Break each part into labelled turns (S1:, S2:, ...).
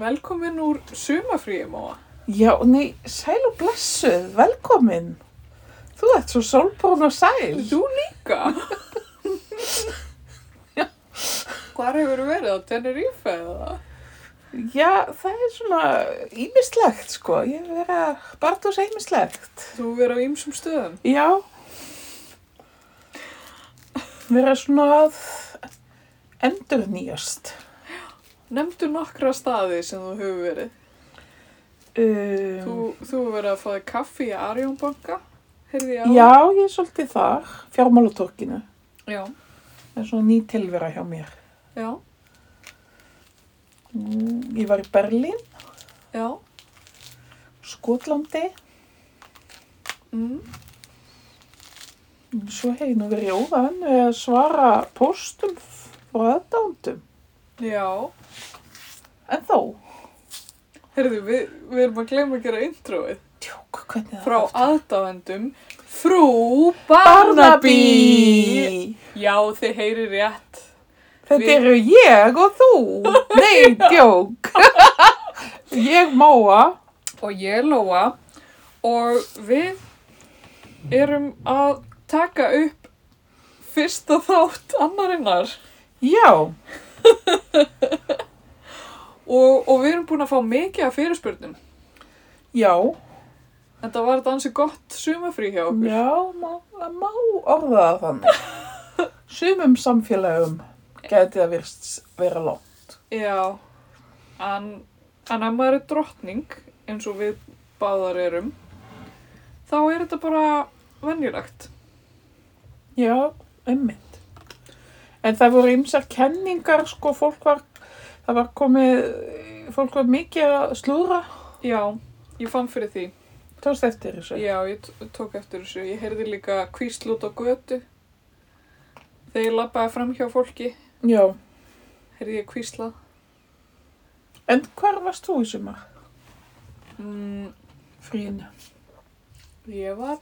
S1: Velkomin úr sumafríi, Móa.
S2: Já, nei, sæl og blessuð, velkomin. Þú ert svo sólbrún og sæl.
S1: Þú líka. Hvar hefur verið á Tenerife eða?
S2: Já, það er svona ímislegt, sko. Ég hef verið að barða úr ímislegt.
S1: Þú hefur verið á ýmsum stöðum.
S2: Já. Verið svona að endur nýjast.
S1: Nemndu nokkra staði sem þú hefur verið. Þú,
S2: Um,
S1: þú hefur verið að fáði kaffi í Arjónbanka, heyrði ég á.
S2: já, ég er svolítið þar, fjármálatorkinu.
S1: Já,
S2: Það er svona ný tilvera hjá mér.
S1: já,
S2: Mm, Ég var í Berlín,
S1: já.
S2: Skotlandi.
S1: Mm.
S2: Svo hef ég nú verið óðan að svara póstum frá aðdándum.
S1: Já.
S2: En þó,
S1: Heyrðu, við, við erum að gleyma að gera introið.
S2: tjók, hvernig það
S1: Frá
S2: er aftur?
S1: aðdáendum, frú Barnaby.
S2: Barnaby!
S1: Já, þið heyrir rétt.
S2: Þetta
S1: Við-
S2: eru ég og þú. Nei, tjók. ég máa.
S1: og ég er Lóa og við erum að taka upp fyrsta þátt annarinnar
S2: Já,
S1: og, og við erum búin að fá mikið af fyrirspurnum
S2: já,
S1: en það var þetta ansi gott sumafrí hjá okkur
S2: já, má, það má orða það þannig. Sumum samfélagum gæti það virst vera lág.
S1: Já, en, en ef maður er drottning eins og við báðar erum þá er þetta bara venjulegt
S2: Já, einmitt. En það voru ymsar kenningar, sko, fólk var, það var komið, fólk var mikið að slúra,
S1: Já, ég fann fyrir því
S2: tóðst eftir þessu.
S1: Já, ég t- tók eftir þessu. Ég heyrði líka kvísl út á götu. Þegar ég labbaði fram hjá fólki,
S2: Já.
S1: heyrði ég kvíslað.
S2: En hvar varst þú í sumar?
S1: Mm,
S2: Fríinu.
S1: ég var...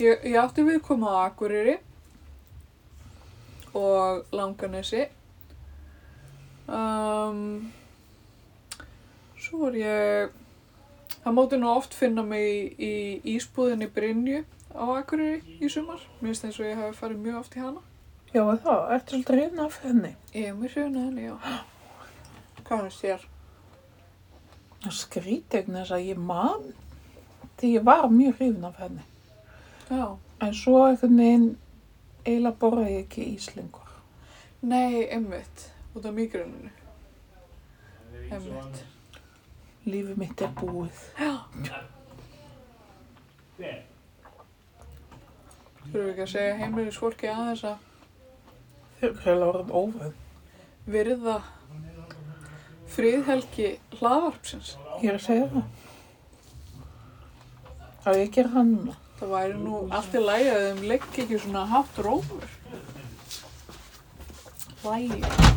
S1: Ég, ég átti viðkomu á Akureyri og Langanesi. Um, svo var ég... Það móti nú oft finna mig í, í ísbúðinni Brynju á Akureyri í sumar. Mér finnst eins og ég hafi farið mjög oft í hana.
S2: Já, er það, ertu svolítið reyna af henni?
S1: Ég er mjög hrifin af henni, já. Hvað hann sér?
S2: Það skríti ekki þess að ég man því ég var mjög hrifin af henni.
S1: Já.
S2: En svo einhvern veginn eiginlega borðaði ég ekki íslengur.
S1: Nei, einmitt. Út af mígruninu. Einmitt.
S2: Lífið mitt er búið.
S1: Þurfum við ekki að segja heimilisfólki aðeins að
S2: Þau eru heila orðin óvöð.
S1: virða friðhelgi hlaðvarpsins.
S2: Ég er að segja það. Það er ekki hann núna.
S1: Það væri nú allt í lagi að þeim legg ekki svona hátt rómur. Lægi.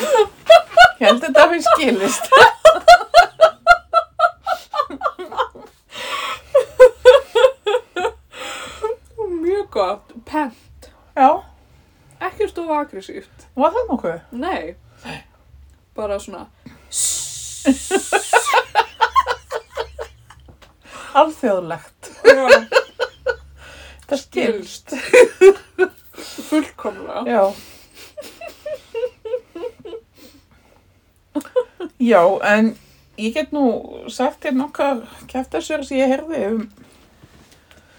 S2: Ég held að þetta hafi skilist.
S1: Mjög gott. Pent.
S2: Já,
S1: Ekkert of aggressíft.
S2: var það nokkuð?
S1: Nei. Bara svona.
S2: Alþjóðlegt.
S1: Já.
S2: Það skilst.
S1: Fullkomlega.
S2: Já. Já, en ég get nú sagt þér nokkar kæftasögur sem ég heyrði um.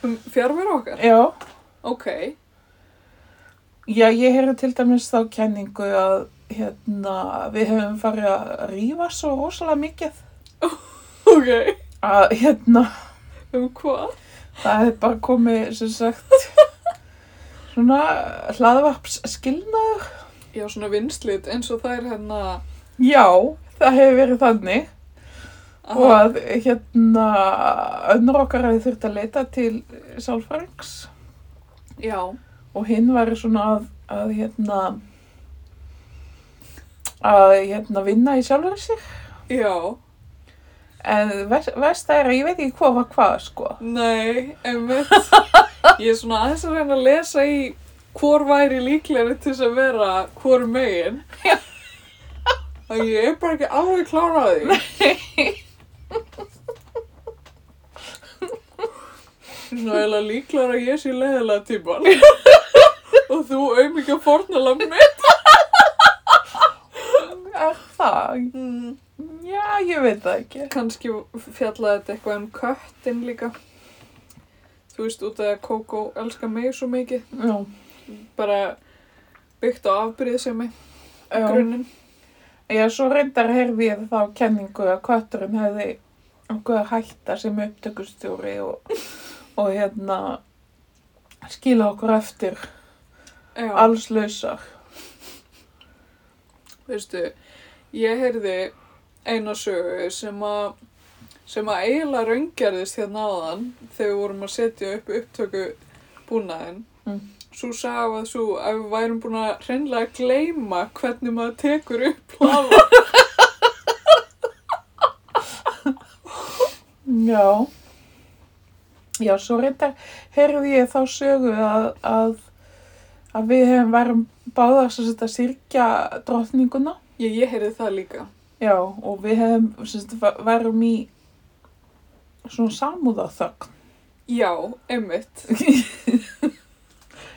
S1: Um fjárveru okkar?
S2: Já,
S1: Ok.
S2: já ég heyrði til dæmis þá kenningu að hérna, við höfum farið að rífa svo rosalega mikið
S1: Ok.
S2: að hérna,
S1: Um hvað?
S2: það hefði bara komið sem sagt svona hlaðvarps skilnaður.
S1: Já, svona vinslit eins og það er hérna
S2: Já, það hefur verið þannig. og að hérna önnur okkar hefði þurft að leita til sálfræðings
S1: Já,
S2: og hinn væri svona að, að hérna að hérna vinna í sjálfur sér
S1: já,
S2: En verst er að ég veit ekki hvað var hvað, sko.
S1: Nei, einmitt. Ég er svona aðeins að reyna að lesa í hvor væri líklegri til þess að vera hvor megin. Það ég er bara ekki alveg klára á því. Svona eiginlega líklegra að ég sé leiðilega típan. Og þú auðvitað fórnulega mitt.
S2: Er það? Já, ég veit það ekki.
S1: Kanski fjallaði þetta eitthvað um köttin líka. Þú veist, út af að Kókó elskar mig svo mikið.
S2: Já.
S1: bara byggt á afbyrðisemi
S2: Já.
S1: grunninn.
S2: Já, svo reyndar heyrði ég þá kenningu að kötturinn hefði okkur að hætta sem upptökustjóri og, og hérna skila okkur eftir
S1: Já,
S2: alls lausar.
S1: veistu, ég heyrði eina sögu sem að sem að eiginlega raungerðist hérna áðan þegar við vorum að setja upp upptöku búnaðinn.
S2: Mm.
S1: Svo sagði að svo að við værum búin að hreinlega gleyma hvernig maður tekur upp hlaða.
S2: Já. Já, svo reyndar heyrði ég þá sögu að, að, að við hefum værum báðar sem sagt að sirkja drottninguna.
S1: ég, ég heyrði það líka.
S2: Já, og við hefum sem sagt værum í svona samúðaþögn.
S1: Já, einmitt.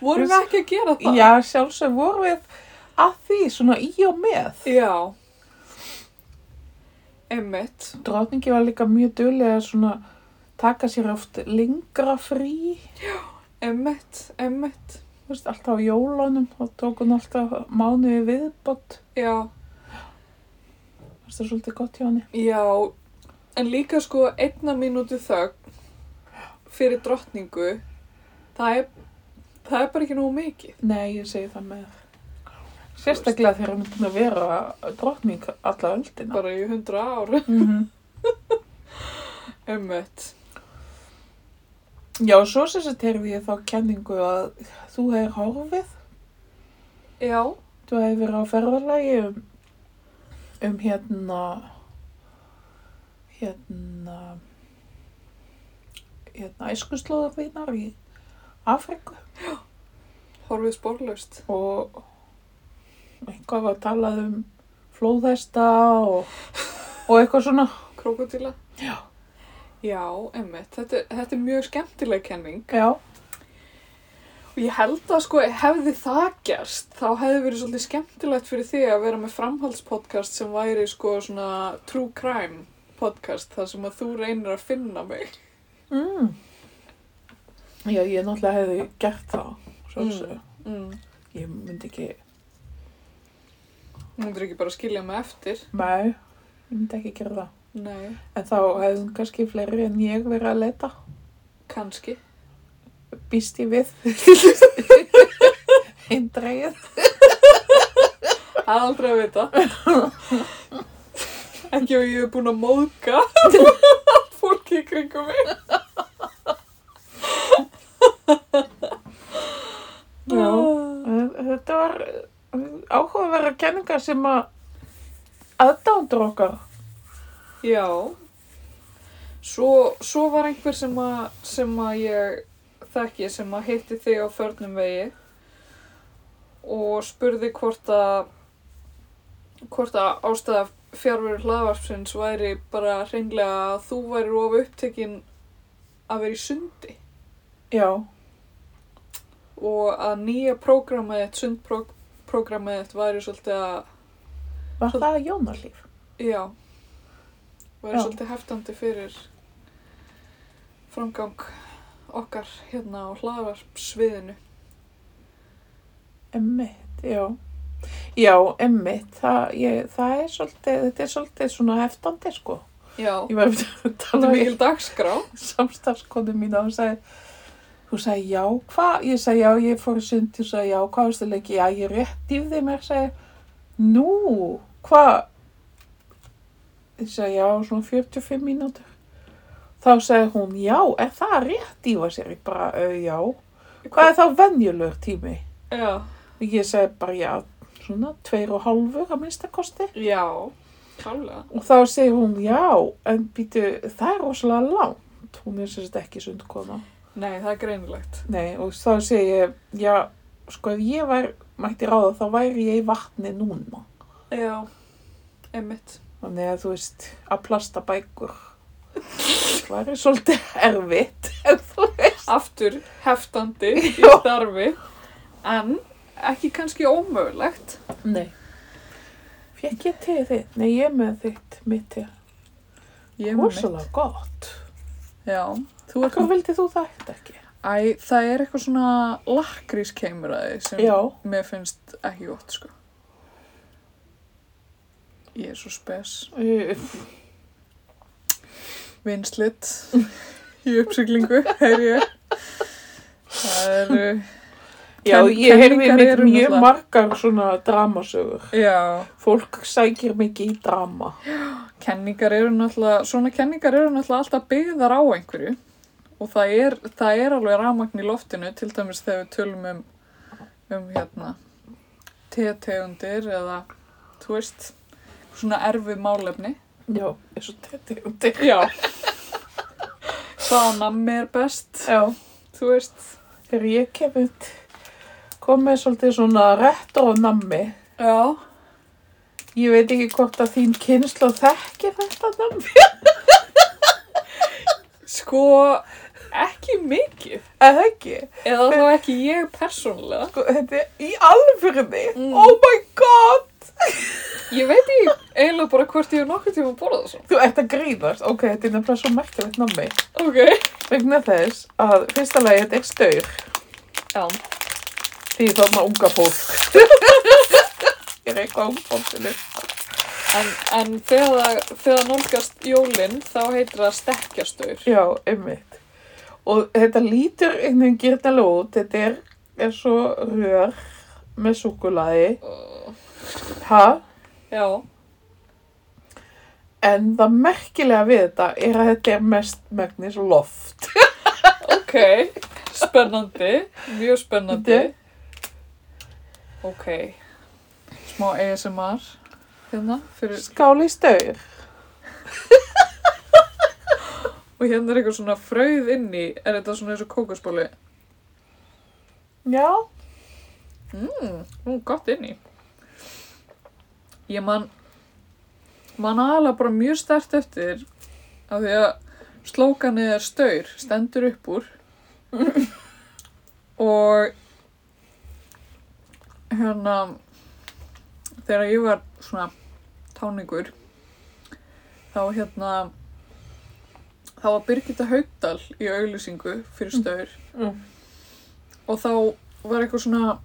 S1: Vorum við ekki að gera það?
S2: Já, sjálfsög vorum við að því svona í og með.
S1: Já. Einmitt.
S2: Drotningi var líka mjög duðlega svona taka sér oft lengra frí,
S1: Emmett, Emmett,
S2: þú veist, alltaf á jólunum og tók hún alltaf mánuði viðbott.
S1: já,
S2: Það er svolítið gott hjá henni.
S1: já, en líka sko einna mínútu þögn fyrir drottningu, það er, það er bara ekki nógu mikið.
S2: Nei, ég segi það með. Sérstaklega þegar hún er búin að vera drotning alla öldina.
S1: Bara í hundra ár,
S2: Mm
S1: Emmett,
S2: Já, svo sem þetta heyrði ég þá kenningu að þú hefur horfið.
S1: já,
S2: Þú hefur verið á ferðalagi um, um hérna, hérna, hérna æskuslóðarvinar í Afriku
S1: horfið spórlaust.
S2: og eitthvað var talað um flóðhesta og, og eitthvað svona.
S1: Krokodila. Já. Já, Emmett, þetta, er- þetta er mjög skemmtileg kenning.
S2: Já,
S1: Og ég held að sko, hefði það gerst, þá hefði verið svolítið skemmtilegt fyrir því að vera með framhaldspodcast sem væri sko svona true crime podcast, þar sem að þú reynir að finna mig.
S2: mm. já ég náttúrulega hefði gert það, svo
S1: Mm.
S2: að segja.
S1: Mm.
S2: Ég myndi ekki,
S1: Þú myndir ekki bara skilja mig eftir.
S2: nei, ég myndi ekki gera það.
S1: Nei.
S2: En þá hefðum kannski fleiri en ég verið að leta.
S1: Kanski.
S2: býst ég við eindræðið
S1: Það er aldrei að vita. ekki og ég hef búin að móðka fólki í kringum mig.
S2: Já.
S1: Ah.
S2: þetta var áhugaverða kenninga sem að aðdándur okkar
S1: Já. Svo, svo var einhver sem að, sem að ég þekki sem að hitti þig á förnum vegi og spurði hvort að hvort að ástæða fjárveru hlaðvarpsins væri bara hreinlega að þú væri of upptekinn að vera í sundi
S2: já,
S1: og að nýja prógramið þitt, sundprógramið þitt væri svolítið að,
S2: var það Jónarlíf
S1: já, væri
S2: Já.
S1: svolítið heftandi fyrir framgang okkar hérna á hlaðvarpsviðinu.
S2: emmitt, já já, emmitt, það, ég, það er svolítið, þetta er svolítið svona heftandi sko,
S1: Já,
S2: ég var að
S1: þetta
S2: tala um
S1: er
S2: við
S1: mikil dagskrá.
S2: samstafskonu mín og hún sagði hún sagði já, hvað, ég sagði já, ég fór í sund, ég sagði já, hvað varstu leiki já, ég rétt í þeim, ég sagði nú, hvað ég sagði já, svona 45 mínútur þá sagði hún, já, er það rétt í var sér, ég bara, "Ö, já hvað er þá venjulegur tími
S1: Já,
S2: og ég sagði bara, já, svona tveir og hálfur að minnsta kosti
S1: já, klálega.
S2: Og þá segir hún, já, en býtu, það er rosalega langt. Hún er sérst ekki sundkona.
S1: Nei, það er greinilegt.
S2: Nei, og þá segir ég, já, sko ef ég var, mætti ráða, þá væri ég í vatni núna.
S1: Já, einmitt.
S2: Þannig að þú veist, að plasta bækur. Það er svolítið erfitt, en þú veist.
S1: Aftur heftandi í
S2: Já.
S1: starfi, en ekki kannski ómögulegt.
S2: Nei. Fekk ég til þitt? Nei, ég er með þitt, mitt til.
S1: Ég er með mitt.
S2: Rosalega gott.
S1: Já, þú ert
S2: Akkur vildi þú það ekkert ekki?
S1: Æ, það er eitthvað svona lakrís kemur að þið sem
S2: Já.
S1: mér finnst ekki gott, sko. Ég er svo spes.
S2: Uh,
S1: Vinslit í uppsiglingu, heyr ég. Það eru,
S2: Já,
S1: Ken-
S2: ég heyrði
S1: kenningar
S2: mjög,
S1: eru
S2: mjög
S1: náttúrulega-
S2: margar svona dramasögur.
S1: já,
S2: Fólk sækir mikið í drama.
S1: kenningar eru náttúrulega, svona kenningar eru náttúrulega alltaf byggðar á einhverju. Og það er, það er alveg rafmagn í loftinu, til dæmis þegar við tölum um, um hérna, tegundir eða, þú veist, svona erfið málefni.
S2: Já, eins og tegundir.
S1: Já. Hvaða nammi er best,
S2: Já.
S1: þú veist.
S2: Þegar ég kemur komið svolítið svona retro-nammi.
S1: Já.
S2: Ég veit ekki hvort að þín kynslu þekki þetta nammi.
S1: Sko, ekki mikið.
S2: Eða ekki?
S1: Eða þá ekki ég persónulega.
S2: Sko, þetta er í alfyrði.
S1: Mm.
S2: Oh my god!
S1: Ég veit ekki eiginlega bara hvort ég hef nokkuð tíma að borða þessu.
S2: Þú ert að grínast. Ok, þetta er nefnilega svo merkilegt nammi.
S1: Ok.
S2: Vegna þess að fyrsta lagi þetta er staur.
S1: Já.
S2: Því þarna unga fólk. ég er eitthvað unga fólkinu.
S1: En, en þegar, það- þegar nálgast jólinn, þá heitir það stekkjastaur.
S2: Já, einmitt. Og þetta lítur einhvern veginn gyrtalega út. Þetta er, er svo rör með súkulaði.
S1: Uh,
S2: Ha?
S1: já.
S2: En það merkilega við þetta er að þetta er mest megnis loft.
S1: Ok. Spennandi. Mjög spennandi. Ok. Smá ASMR. Hérna, fyrir
S2: Skál í staur.
S1: Og hérna er eitthvað svona frauð inni, er þetta svona eins og kókosbóli?
S2: Já.
S1: Mmm, hún gott inni. Ég man, man aðalega bara mjög stert eftir af því að slókanið er staur, stendur upp úr og hérna þegar ég var svona táningur þá hérna þá var Birgitta Haugdal í auglýsingu fyrir staur
S2: Mm.
S1: og þá var eitthvað svona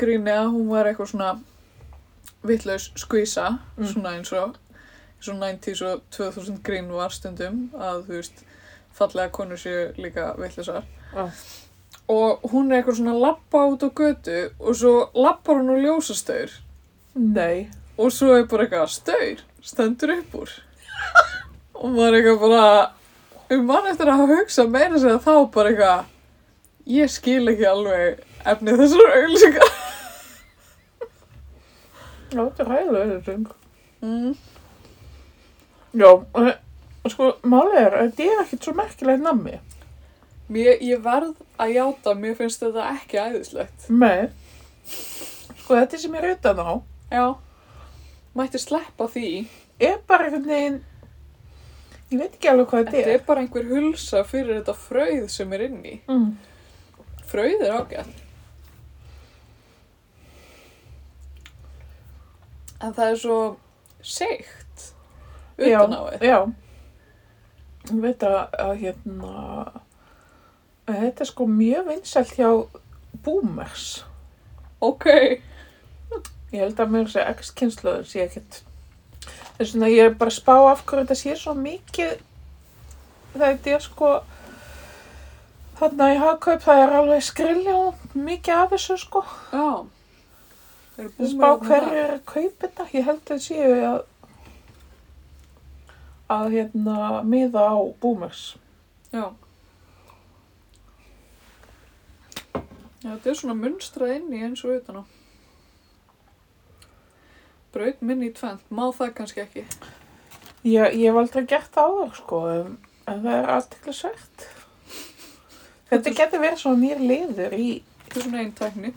S1: gríni að hún var eitthvað svona vittlaus skvísa
S2: Mm.
S1: svona eins og eins og 90s og 2000 grín var stundum að þú veist fallega konur séu líka vittlausar
S2: Já.
S1: og hún er eitthvað svona lappa út á götu og svo lappar hún úr ljósastaur
S2: Nei.
S1: og svo er bara eitthvað staur stendur upp úr og maður er eitthvað bara um mann eftir að hafa hugsað meira sér að þá bara eitthvað ég skil ekki alveg efnið þessar auglýsingar
S2: Já, þetta er hægilega þetta þing.
S1: mm.
S2: Já, eh, sko, málið er að þetta er ekkert svo merkilegt nammi.
S1: mér, ég verð að játa mér finnst þetta ekki æðislegt
S2: Nei. Sko, þetta sem ég er utan á
S1: já mætti sleppa því
S2: er bara einhvern veginn, ég veit ekki alveg hvað þetta
S1: þetta
S2: er.
S1: er bara einhver hulsa fyrir þetta frauð sem er inni
S2: Mm.
S1: frauð er ágætt en það er svo seigt utan á þetta
S2: Já, já. Ég veit að, að hérna, að þetta er sko mjög vinsælt hjá boomers.
S1: ok,
S2: Ég held að mér þessi x-kynsluður sé ekkert. Þess vegna ég er bara að spá af hverju þetta sé svo mikið. Þetta er sko, þarna í hagkaup það er alveg skrilja og mikið af þessu sko.
S1: já
S2: Ég er
S1: Eru
S2: að
S1: búmar
S2: spá
S1: þarna
S2: hverju
S1: þar?
S2: er að kaupa þetta. Ég held að þetta séu að, að hérna miða á boomers.
S1: já Já, þetta er svona munstrað inni eins og utan á. braut minni í tvend, má það kannski ekki.
S2: Ég, ég hef aldrei gert það áður sko, en, en það er aðtiklisvert. Þetta getur verið svona nýr liður í,
S1: Þetta er svona einn tækni.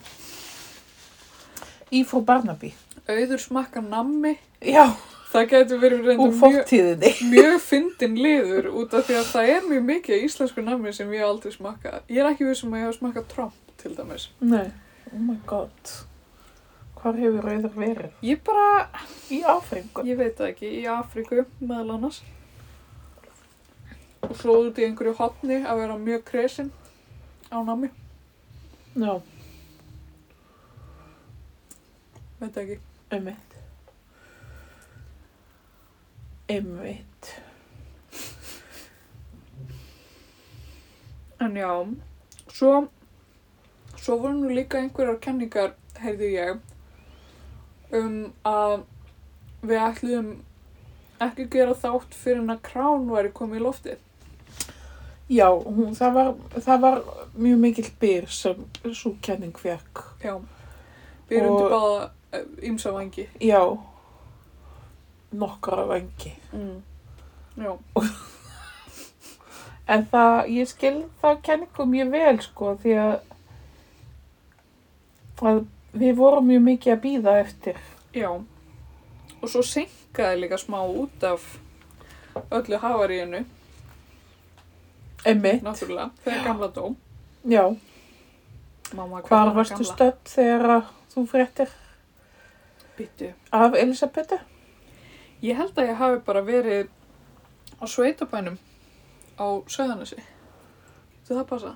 S2: í frú Barnaby.
S1: Auður smakka nammi,
S2: Já,
S1: það getur verið reynda
S2: úr
S1: mjög,
S2: fórtíðinni.
S1: mjög fyndin liður út af því að það er mjög mikið af íslensku nammi sem ég hef aldrei smakka. Ég er ekki vissum að ég hef smakka tromp til dæmis.
S2: Nei, oh my god. Hvar hefur auður verið?
S1: Ég bara,
S2: Í áfengu.
S1: ég veit það ekki, í Afríku meðal annars. Og svo út í einhverju hotni að vera mjög kresin á nammi,
S2: Já,
S1: veit það ekki.
S2: einmitt. Einmitt.
S1: En já, svo, svo voru nú líka einhverjar kenningar, heyrði ég, um að við ætluðum ekki gera þátt fyrir en að krán væri komið í loftið.
S2: Já, hún, það, var, það var mjög mikill byr sem svo kenning fekk.
S1: Já, við erum
S2: Og-
S1: til báða eh, ímsa vangi.
S2: Já, nokkra vengi.
S1: Mm. Já,
S2: En það, ég skil það kenningu mjög vel, sko, því að, að við vorum mjög mikið að býða eftir.
S1: já. Og svo senkaði líka smá út af öllu havaríinu,
S2: Einmitt.
S1: náttúrulega, þegar gamla dó.
S2: Já,
S1: Mamma, hvað
S2: hvar
S1: var
S2: varstu
S1: gamla?
S2: stödd þegar að þú fréttir
S1: Bittu.
S2: af Elisabetu?
S1: Ég held að ég hafi bara verið á sveitabænum á Söðanesi. Þú það passa?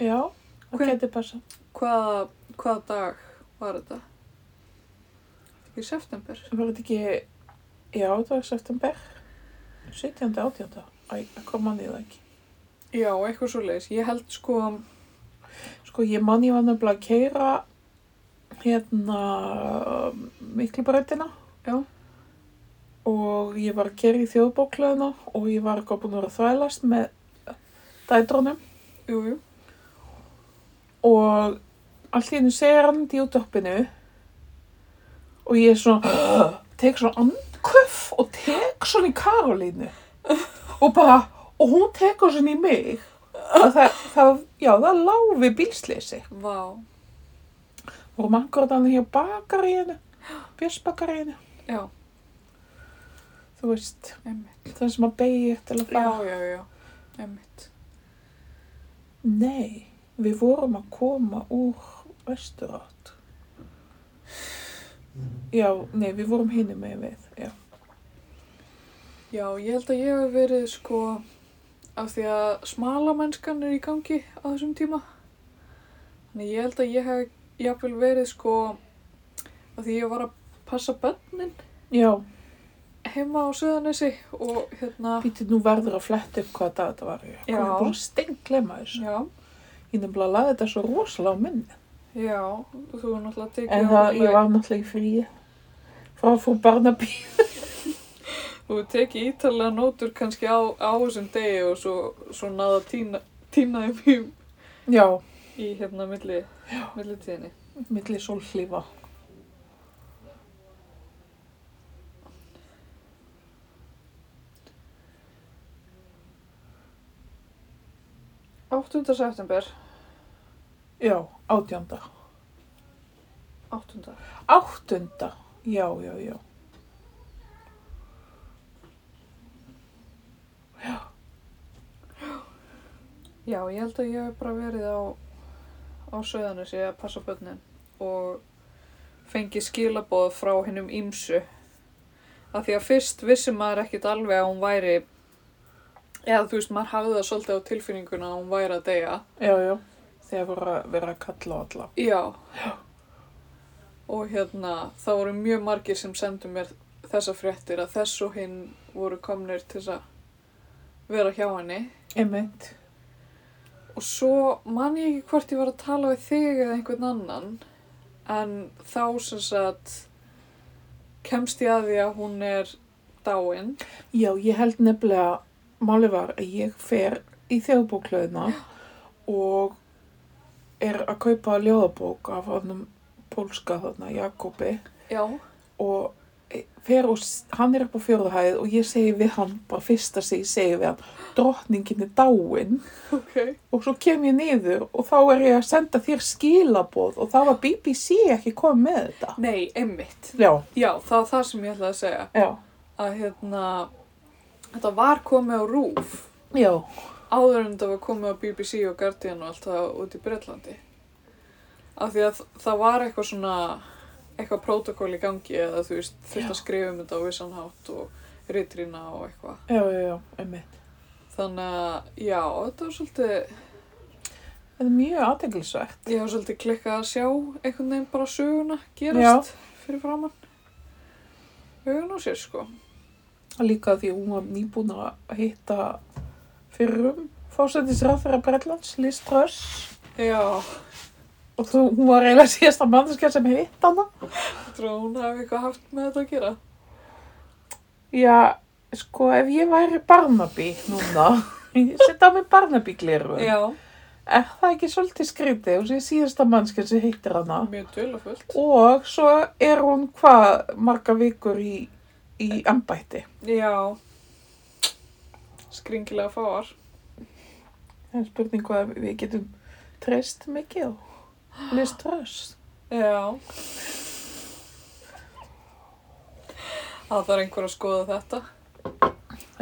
S2: Já, það
S1: Hver-
S2: getur passa.
S1: Hvaða, hvaða dag var þetta? Í september?
S2: Var þetta ekki, já, það var september, 17. 18. Æ, það kom manni það ekki.
S1: Já, eitthvað svo leiðis. Ég held sko,
S2: Sko, ég manni var nefnilega að keira hérna miklubröðina.
S1: Já.
S2: Og ég var að keira í þjóðbóklaðina og ég var eitthvað búin að vera að þvælast með dætrónum
S1: jú, jú,
S2: og allt í hennu segir hann þetta í útöppinu og ég er svona, tek svona andköf og tek svona í Karolínu og bara, og hún tekur svona í mig og það, það já, það lá við bílsleysi.
S1: vá,
S2: vorum akkurat annað hjá bakaríinu, björsbakaríinu,
S1: já,
S2: þú veist,
S1: emmitt.
S2: það sem að beigja til að
S1: Já,
S2: fara.
S1: já, já, emmitt.
S2: Nei, við vorum að koma úr vesturátt. Já, nei, við vorum hinum með við, já.
S1: Já, ég held að ég hef verið sko, af því að smalamennskan er í gangi á þessum tíma. Þannig ég held að ég hef jafnvel verið sko, af því ég var að passa bönnin
S2: Já,
S1: heima á Suðanesi og hérna,
S2: býttu nú verður að fletta upp hvaða dag þetta var. Já. Ég er
S1: Já.
S2: búin að stengleima þessu.
S1: já,
S2: Ég er nefnilega að laði þetta svo rosalega á minni.
S1: já, þú er náttúrulega tekið
S2: En
S1: á
S2: það,
S1: alveg-
S2: ég var náttúrulega í fríi frá frú Barnaby.
S1: þú hefur tekið ítalega nótur kannski á, á þessum degi og svo, svo náða tína, tínaði mjög
S2: Já,
S1: í hérna milli, milli tíðinni.
S2: milli sólhlífa.
S1: september,
S2: Já, átjánda.
S1: 8.
S2: Áttunda, já, já, já.
S1: Já, ég held að ég hef bara verið á, á Suðanesi að passa bönnin og fengið skilaboð frá hennum ímsu. Af því að fyrst vissi maður ekkit alveg að hún væri, eða þú veist, maður hafði það svolítið á tilfinninguna að hún væri að deyja.
S2: Já, já. Þegar voru að vera að kalla á alla.
S1: Já. Og hérna, það voru mjög margir sem sendu mér þessa fréttir að þess og hinn voru komnir til þess að vera hjá henni.
S2: Einmitt.
S1: Og svo man ég ekki hvort ég var að tala við þig eða einhvern annan en þá sem sagt kemst ég að því að hún er dáin.
S2: Já, ég held nefnilega, máli var að ég fer í þjóðbóklöðina og er að kaupa ljóðabók af honum pólska þarna, Jakobi
S1: Já,
S2: og e, fer og s- hann er upp á fjóruhæð og ég segi við hann, bara fyrsta sig, segi við hann, drottningin er dáin
S1: ok.
S2: og svo kem ég niður og þá er ég að senda þér skilaboð og þá var BBC ekki komið með þetta.
S1: Nei, einmitt.
S2: Já,
S1: Já, það var það sem ég ætlaði að segja.
S2: já,
S1: Að hérna, þetta var komið á RÚF
S2: já,
S1: áður en þetta var komið á BBC og Guardian og allt það út í Breitlandi. Af því að þ- það var eitthvað svona, eitthvað prótokól í gangi eða þú veist, þurft að skrifa um þetta á vissan hátt og ritrýna og eitthvað.
S2: já, já, já, einmitt.
S1: Þannig að, já, þetta var svolítið,
S2: Það er mjög aðteglisvægt.
S1: ég var svolítið klikkað að sjá einhvern veginn bara söguna gerast fyrir framann. Augun á sér, sko.
S2: Líka því hún var nýbúin að hitta fyrrum fósættisráþara Bretlands, Liz Truss
S1: Já,
S2: og þú, hún var eiginlega síðasta mannskja sem hitt hana.
S1: trú, hún hafi eitthvað haft með þetta að gera.
S2: Já, sko, ef ég væri Barnaby núna, ég setja á mig Barnaby gleru,
S1: Já,
S2: er það ekki svolítið skrítið og sé síðasta mannskja sem hittir hana.
S1: mjög dölufullt.
S2: Og svo er hún hvað marga vikur í, í embætti.
S1: Já, skringilega fáar.
S2: Það er spurning hvað við getum treyst mikið og Liz Truss.
S1: Já. Það þarf einhver að skoða þetta.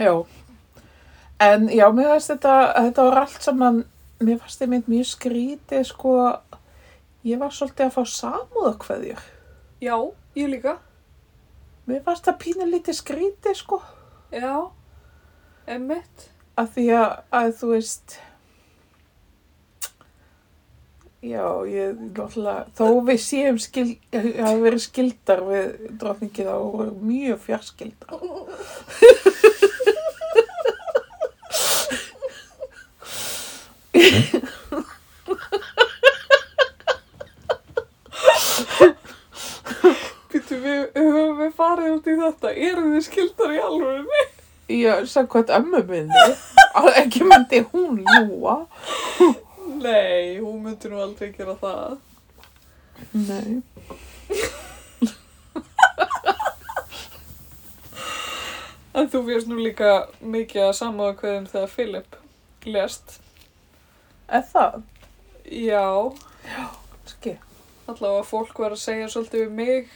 S2: Já, en já, mér finnst þetta, þetta var allt saman, mér fannst þið mynd mjög skrítið, sko, ég var svolítið að fá samúðakveðjur.
S1: Já, ég líka.
S2: Mér fannst það pínu lítið skrítið, sko,
S1: Já, emmitt.
S2: af því að, að þú veist, já, ég, náttúrulega, þó við séum skil, hafa verið skildar við drottningið og voru mjög fjarskildar.
S1: Býttu, við höfum við farið út í þetta. Erum við skildar í alvöru?
S2: Ég sagði hvað ömmu minni, að ekki myndi hún ljúa.
S1: Nei, hún myndi nú aldrei gera það.
S2: Nei.
S1: En þú fyrst nú líka mikið að samáða hverjum þegar Philip lest.
S2: Er það?
S1: Já,
S2: Ski.
S1: allavega fólk var að segja svolítið við mig.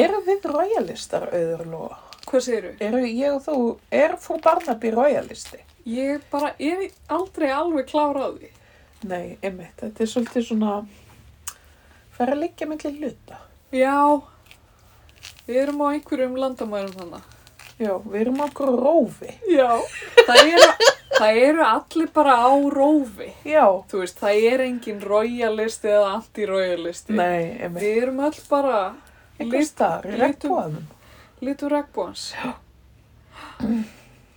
S2: Eru við royalistar auður loa?
S1: Hvað segirðu?
S2: Eru ég og þú, er frú Barnaby royalisti?
S1: Ég bara er aldrei alveg klára á því.
S2: Nei, einmitt, þetta er svolítið svona, fer að liggja milli hluta.
S1: Já, við erum á einhverjum landamærum þannig.
S2: Já, við erum okkur rófi.
S1: Já. Það eru, það eru allir bara á rófi.
S2: Já.
S1: Þú veist, það er engin royalisti eða anti-royalisti.
S2: Nei, einmitt.
S1: Við erum öll bara
S2: Einhver staðar,
S1: litum-
S2: regnbúðanum.
S1: litur regnbúans. Já.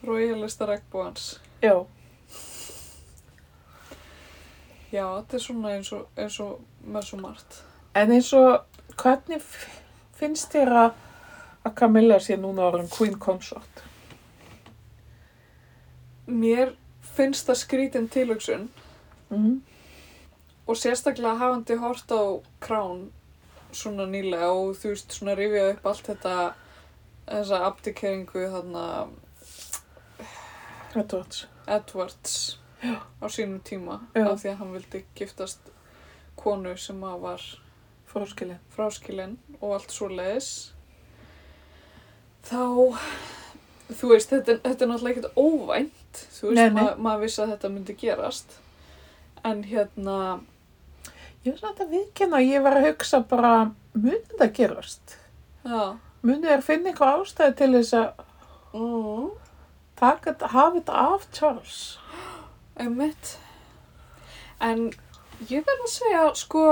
S1: Royalista regnbúans.
S2: Já.
S1: Já, þetta er svona eins og, eins og með svo margt.
S2: En eins og, hvernig f- finnst þér að að Camilla sé núna orðin queen consort?
S1: Mér finnst það skrítin tilhugsun
S2: Mm.
S1: og sérstaklega hafandi hort á krán svona nýlega og þú veist svona rifja upp allt þetta þessa abdikeringu þarna
S2: Edwards.
S1: Edwards á sínum tíma
S2: Já.
S1: af því að hann vildi giftast konu sem að var
S2: Fróskilin.
S1: fráskilinn og allt svo leiðis þá þú veist, þetta, þetta er náttúrulega ekkert óvænt þú
S2: Nei,
S1: veist,
S2: nei.
S1: ma maður vissi að þetta myndi gerast en hérna
S2: Ég var svona þetta viðkynna að ég var að hugsa bara, muni þetta gerast?
S1: já,
S2: Muni þér finna eitthvað ástæði til þess að
S1: mm,
S2: taka, þetta- hafa þetta af Charles?
S1: einmitt en ég verð að segja sko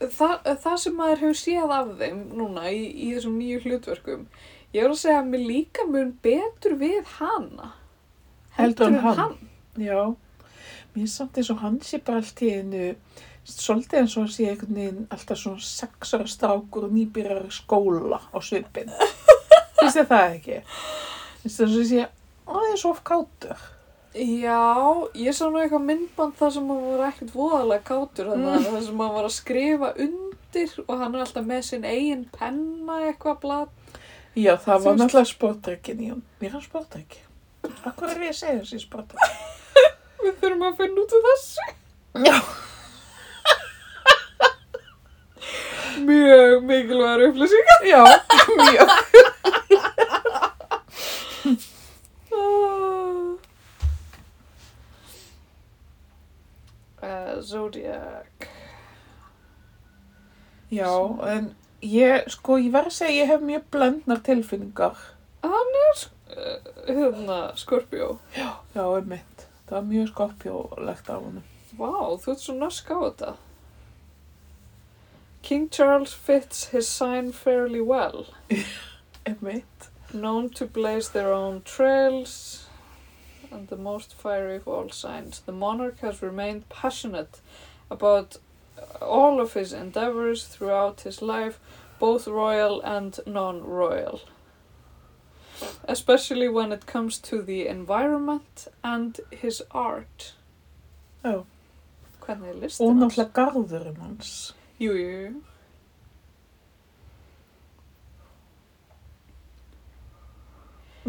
S1: það, það sem maður hefur séð af þeim núna í, í þessum nýju hlutverkum ég verð að segja að mér líka mun betur við hana
S2: Heldur en hann.
S1: hann
S2: Já. Mér er samt eins og hann sé bara allt í einu, svolítið eins og hann sé einhvern veginn alltaf svona sexara strákur og nýbyrjar í skóla á svipin. Finnst þið það ekki? Finnst þið eins og sé aðeins of kátur?
S1: Já, ég
S2: Mm.
S1: sá nú eitthvað myndband þar sem hann var ekkert voðalega kátur þannig að það sem hann var að skrifa undir undir og hann er alltaf með sinn eigin penna eitthvað blad.
S2: Já, það
S1: Þú
S2: var
S1: veist-
S2: náttúrulega sportdrykkin í hún. Mér hann sportdrykki. Akkur er ég að segja þessi sportdrykki?
S1: Við þurfum að finna út af þessu.
S2: Já.
S1: Mjög mikilvægur upplýsing.
S2: Já, mjög.
S1: Uh, Zodiac.
S2: Já, en ég, sko, ég verð að segja, að ég hef mjög blendnar tilfinningar.
S1: Hann er uh, hérna, Scorpio.
S2: Já, einmitt. Það var mjög skorpjólegt af honum.
S1: Vá, þú ert svo norsk á þetta. King Charles fits his sign fairly well.
S2: Einmitt.
S1: Known to blaze their own trails and the most fiery of all signs. The monarch has remained passionate about all of his endeavors throughout his life, both royal and non-royal. Especially when it comes to the environment and his art.
S2: Já.
S1: Hvernig er listin
S2: Og náttúrulega garðurinn hans.
S1: Jú, jú, jú.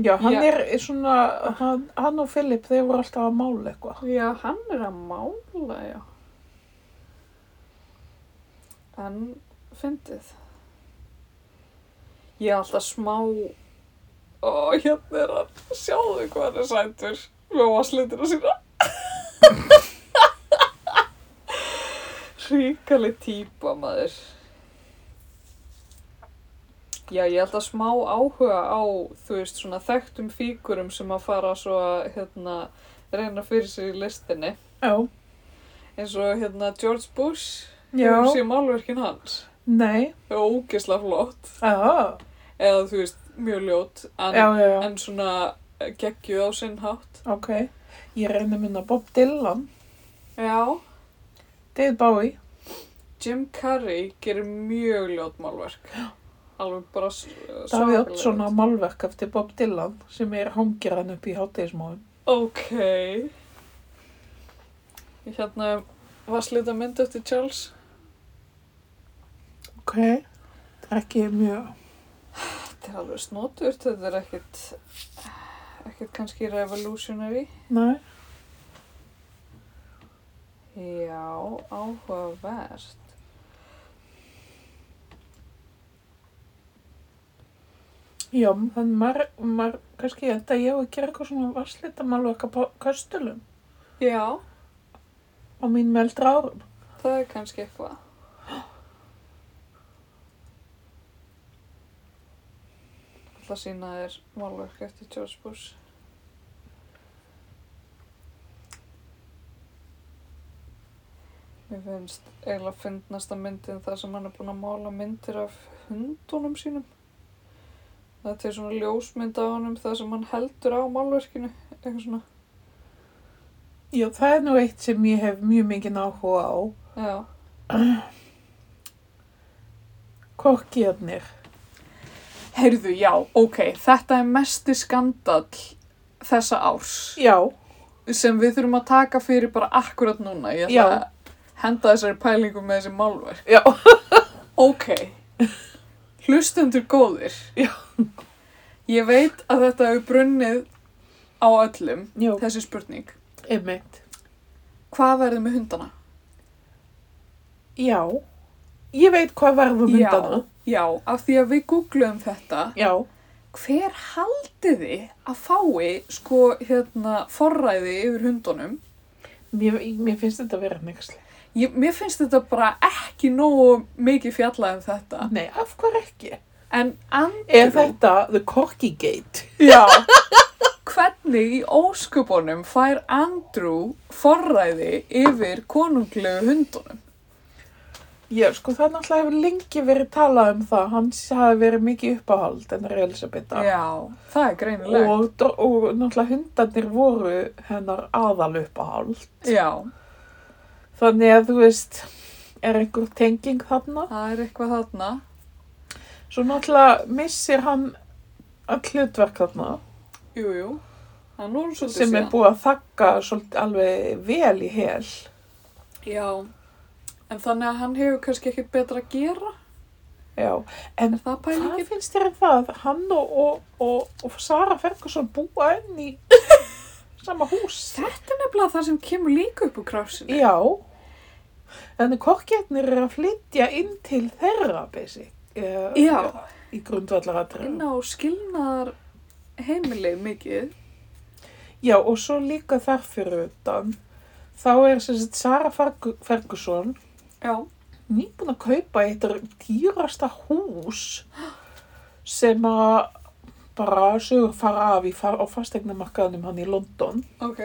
S2: Já, hann
S1: Já.
S2: er svona, hann, hann og Filip, þeir voru alltaf að mála eitthvað.
S1: Já, hann er að mála, já. En, fyndið. Ég er alltaf smá... Ó, hérna er hann. Sjáðu hvað hann er sætur. Lóa slitina sína. Ríkali típa, maður. Já, ég held að smá áhuga á, þú veist, svona þekktum fígurum sem að fara svo að, hérna, reyna fyrir sér í listinni
S2: Já.
S1: eins og hérna George Bush
S2: Já.
S1: hefur sé málverkin hans
S2: Nei.
S1: það er ógisla flott
S2: Já.
S1: eða þú veist mjög ljót en,
S2: Já, já, já.
S1: en svona eh, geggjuð á sinn hátt
S2: Ok. Ég reyni að minna Bob Dylan,
S1: já,
S2: David Bowie.
S1: Jim Carrey gerir mjög ljót málverk alveg bara s-
S2: Davíð
S1: svakalega
S2: Oddsson á
S1: ljót.
S2: málverk eftir Bob Dylan sem er hangjaran upp í hátægismáin.
S1: ok hérna var slita mynd eftir Charles
S2: Ok. Það er ekki mjög...
S1: þetta er alveg snoturt þetta er ekkit ekkit kannski revolutionary
S2: Nei.
S1: Já, áhugavert.
S2: Já, þannig maður, maður, kannski ég enda ég á að gera eitthvað svona varslita málverk á köstulum
S1: Já,
S2: á mínum eldri árum.
S1: það er kannski eitthvað. Það sína þér málverk eftir George Bush. Mér finnst eiginlega fyndnasta myndin þar sem hann er búinn að mála myndir af hundunum sínum. Það er til svona ljósmynd af honum þar sem hann heldur á málverkinu, eitthvað svona.
S2: Já, það er nú eitt sem ég hef mjög mikið áhuga á.
S1: Já.
S2: Korkiðarnir.
S1: Heyrðu, já, ok, þetta er mesti skandall þessa árs
S2: Já,
S1: sem við þurfum að taka fyrir bara akkurat núna. Ég
S2: Já.
S1: ætla að henda þessari pælingu með þessi málverk.
S2: já.
S1: Ok, hlustendur góðir.
S2: Já.
S1: Ég veit að þetta hefur brunnið á öllum,
S2: Já,
S1: þessi spurning.
S2: einmitt.
S1: Hvað verður með hundana?
S2: Já. Ég veit hvað verður myndana.
S1: Já, já, af því að við googluðum þetta.
S2: Já. Já.
S1: Hver haldið þið að fái sko hérna forræði yfir hundunum
S2: Mér, mér finnst þetta að vera nexli.
S1: Ég, mér finnst þetta bara ekki nógu mikið fjallað um þetta.
S2: Nei, af hvað ekki?
S1: En
S2: Er
S1: Andrew,
S2: þetta The Corky Gate?
S1: já, hvernig í ósköpunum fær Andrew forræði yfir konunglegu hundunum?
S2: Já, sko það náttúrulega hefur lengi verið talað um það. Hans hafi verið mikið uppáhald en Elisabetta.
S1: Já, það er greinilegt.
S2: Og, dr- og náttúrulega hundarnir voru hennar aðal uppáhald.
S1: Já,
S2: Þannig að þú veist, er einhver tenging þarna?
S1: það er eitthvað þarna.
S2: Svo náttúrulega missir hann að hlutverk þarna
S1: Jú, jú, það er nú svolítið
S2: sem er
S1: síðan.
S2: búið að þakka svolítið alveg vel í hel.
S1: Já, En þannig að hann hefur kannski ekkert betra að gera.
S2: Já,
S1: Er það
S2: hvað
S1: pælingin?
S2: finnst þér um það? að Hann og, og, og, og Sara Ferguson búa enn í sama hús.
S1: Þetta er nefnilega það sem kemur líka upp úr krafsinu.
S2: Já, en korkjarnir eru að flytja inn til þeirra, basic. Uh,
S1: Já.
S2: Í grundvallaratriðum.
S1: Inn á skilnaðar heimili mikið.
S2: Já, og svo líka þar fyrir utan, þá er sem sagt Sara Fergu- Ferguson
S1: Já.
S2: nýbúin að kaupa eitt dýrasta hús sem að bara sögur fara af í far, á fastegnamarkaðnum hann í London.
S1: Ok.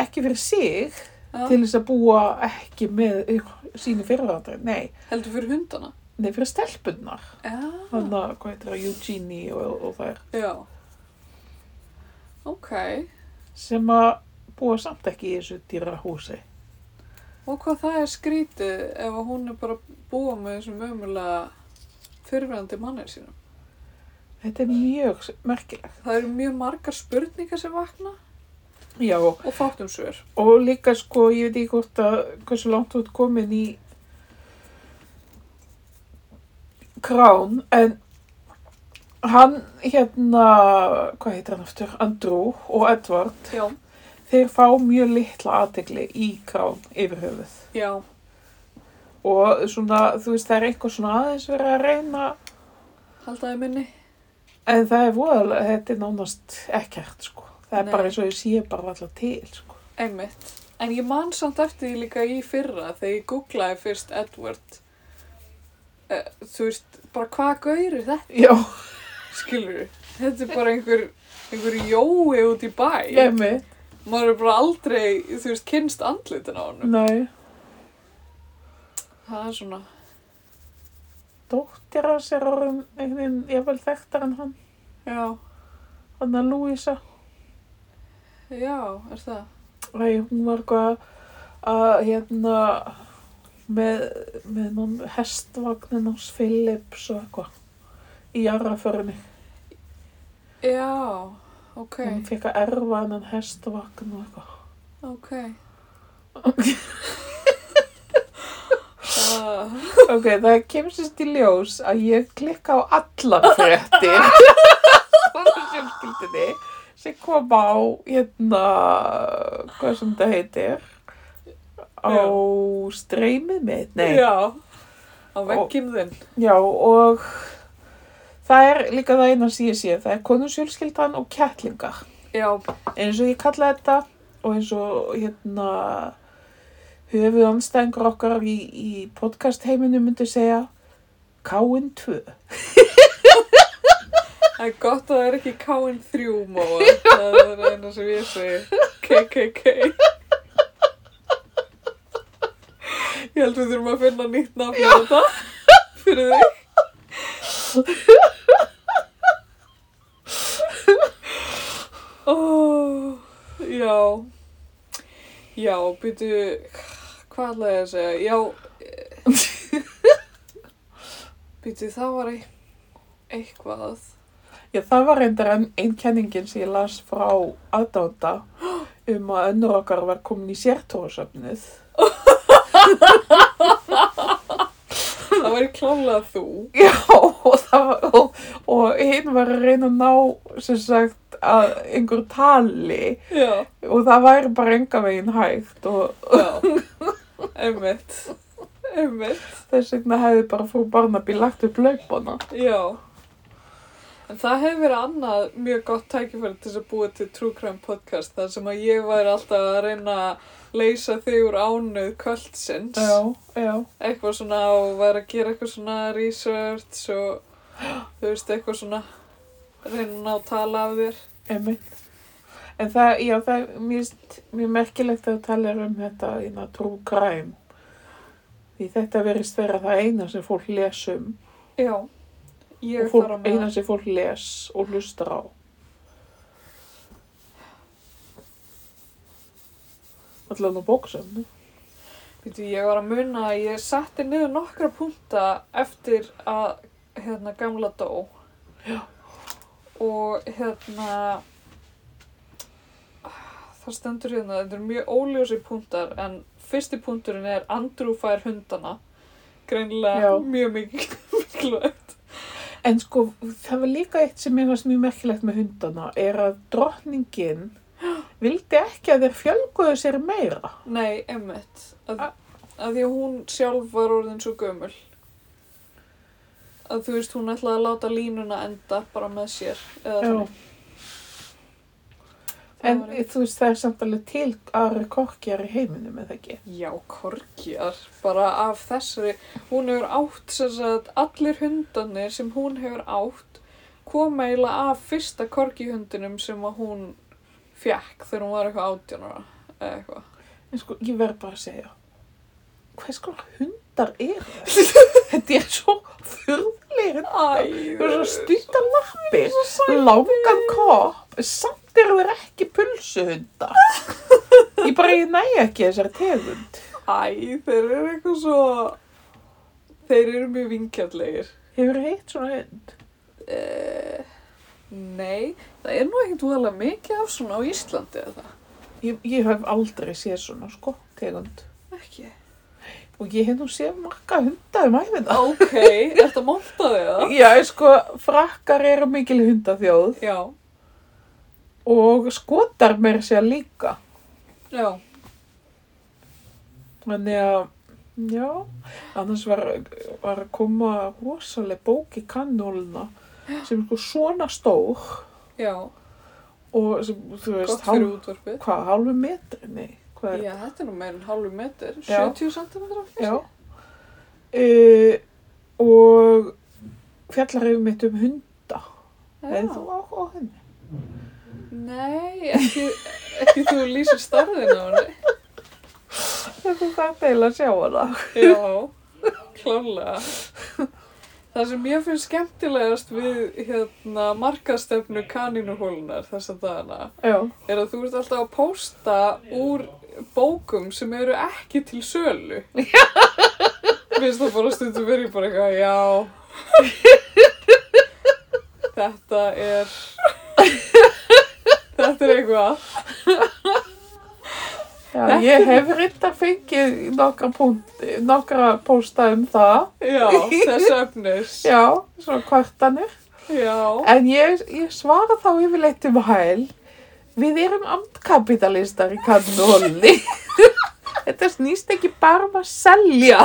S2: Ekki fyrir sig,
S1: Já.
S2: til þess að búa ekki með ykk- sínu fyrirandri, nei,
S1: Heldur fyrir hundana.
S2: nei fyrir stelpunnar.
S1: Já.
S2: Þannig að hvað heitir það, Eugenie og, og þær,
S1: Já. Ok.
S2: sem að búa samt ekki í þessu dýra húsi.
S1: Og hvað það er skrítið ef að hún er bara að búa með þessum ömulega fyrirverandi mannir sínum.
S2: Þetta er mjög s- merkilegt.
S1: Það eru mjög margar spurningar sem vakna
S2: Já, og
S1: og fátum svör.
S2: Og líka sko, ég veit ekki hvort að hversu langt þú ert komin í krán, en hann hérna, hvað heitir hann aftur, Andrew og Edward,
S1: Já.
S2: þeir fá mjög litla aðtegli í krán yfir höfuð.
S1: Já.
S2: Og svona, þú veist, það er eitthvað svona aðeins verið að reyna,
S1: Haldaði minni.
S2: en það er voðalega, þetta er nánast ekkert sko. Það er
S1: Nei.
S2: bara eins og ég sé bara alltaf til sko.
S1: Einmitt. En ég man samt eftir því líka í fyrra þegar ég googlaði fyrst Edward. Uh, þú veist, bara hvað gaurir þetta,
S2: Já,
S1: skilur Þetta er bara einhver, einhver jói út í bæ.
S2: ég með,
S1: Maður er bara aldrei, þú veist, kynst andlitin á honum.
S2: nei.
S1: Það er svona,
S2: dóttir hans er orðin einhvern veginn, ég vel þekktar en hann,
S1: já,
S2: hann að Louisa.
S1: já, er það.
S2: Æ, hún var eitthvað að, hérna, með, með hann hestvagnin hans Phillips og eitthvað í jarraförinni.
S1: Já, ok,
S2: Hún fekk að erfa hennan hestvagn og eitthvað.
S1: ok. Uh,
S2: Ok, það kemur sérst í ljós að ég klikka á allar fréttir svona sjálfskildinni sem kom á hérna hvað sem þetta heitir á
S1: Já.
S2: streymið mitt, nei já.
S1: já, á vegginn þinn.
S2: og það er líka það eina sem ég sé það er konusjölskyldan og kettlingar
S1: Já,
S2: eins og ég kalla þetta og eins og hérna höfuð anstæðingur okkar í, í podcast heiminu myndi segja Káin 2
S1: Það er gott að það er ekki KN3 móa, það er það eina sem ég segi, KKK. Ég held við þurfum að finna nýtt nafn á þetta fyrir þig. Ó, já, já, býtu, hvað ætlaði ég að segja, já, eh, býtu, það var eit- eitthvað.
S2: Já, það var reyndar einn ein kenningin sem ég las frá aðdánda um að önnur okkar var komin í sértóðsöfnið.
S1: Það væri klálega þú.
S2: Já, og, það var, og, og hinn var að reyna að ná, sem sagt, að einhver tali
S1: Já.
S2: og það væri bara enga veginn hægt og
S1: Já. Einmitt. Einmitt.
S2: þess vegna hefði bara frú Barnaby lagt upp laupana.
S1: Já. En það hefur verið annað mjög gott tækifæri til þess að búa til True Crime Podcast þar sem að ég væri alltaf að reyna að leysa þig úr ánuð kvöldsins.
S2: Já, já.
S1: Eitthvað svona og væri að gera eitthvað svona research og þú veist eitthvað svona reyna að ná að tala af þér.
S2: Einmitt. En það, já, það er mjög, mjög merkilegt að tala um þetta innan trú græm. Því þetta verist vera það eina sem fólk les um
S1: Já.
S2: og
S1: Ég
S2: fólk,
S1: þarf að
S2: eina sem fólk les og hlustar á. Allan á bóksöfnu.
S1: Býtu, ég var að muna að ég setti niður nokkra punta eftir að hérna gamla dó. Já. Og hérna, þá það stendur hérna, þetta eru mjög óljósi punktar en fyrsti punkturinn er Andrew fær hundana greinilega
S2: Já.
S1: mjög mikið mikilvægt
S2: En sko, það var líka eitt sem mér fannst mjög merkilegt með hundana, er að drottningin vildi ekki að þeir fjölguðu sér meira.
S1: Nei, emmitt að,
S2: A-
S1: að því að hún sjálf var orðin svo gömul að þú veist, hún ætlaði að láta línuna enda bara með sér eða
S2: Já.
S1: þannig. Það
S2: En
S1: var eitt-
S2: þú veist, það er samt alveg til aðra korkjar í heiminum, eða ekki?
S1: Já, korgjar, bara af þessari, hún hefur átt sem sagt, allir hundarnir sem hún hefur átt koma eiginlega af fyrsta korgihundinum sem að hún fekk þegar hún var eitthvað átjánara eða eitthvað.
S2: En sko, ég verð bara að segja, hvers konar hundar eru það? Þetta er svo furðulegir
S1: Æ,
S2: Þú eru svo stýta lappir, langan kopp, samt eru þeir ekki pulsuhundar. Ég bara, ég næ ekki þessari tegund.
S1: Æ, þeir eru eitthvað svo, þeir eru mjög vinkjallegir.
S2: Hefur heitt svona hund?
S1: Eh, nei, það er nú ekkert úðalega mikið af svona á Íslandi eða það.
S2: Ég, ég hef aldrei séð svona, sko, tegund.
S1: Ekki.
S2: Og ég hef nú séð marga hunda um æfina.
S1: Ok, ertu að monta þig það?
S2: Já, sko, frakkar eru mikil hundaþjóð
S1: Já,
S2: og skotar meir sér líka.
S1: já.
S2: Þannig að, já, annars var, var að koma rosaleg bók í kannóluna sem er sko svona stór
S1: Já,
S2: og sem, þú veist,
S1: gott fyrir
S2: hálf,
S1: útvarpið.
S2: hvað, hálfu metri, nei, hvað er,
S1: Já, þetta er nú meir en hálfu metur,
S2: Já.
S1: 70 cm kannski.
S2: já, e, og fjallar hefur mitt um hunda, eða þú á, á henni.
S1: Nei, ekki, ekki þú lýsir starðin á henni.
S2: Þegar þú það deila að sjá hana.
S1: Já, klálega. Það sem ég finnst skemmtilegast við hérna, markastefnu kanínuhólunar þess að dagana
S2: Já,
S1: er að þú ert alltaf að pósta úr bókum sem eru ekki til sölu. Minnst það bara stundum verið bara eitthvað, já, þetta er, þetta er eitthvað.
S2: já ég hef reyndar fengið nokkra, punkt, nokkra pósta um það,
S1: Já, þess efnis.
S2: já, svona kvartanir.
S1: Já,
S2: En ég, ég svara þá yfirleitt um hæl. Við erum amtkapitalistar í kannóli. Þetta snýst ekki bara um að selja.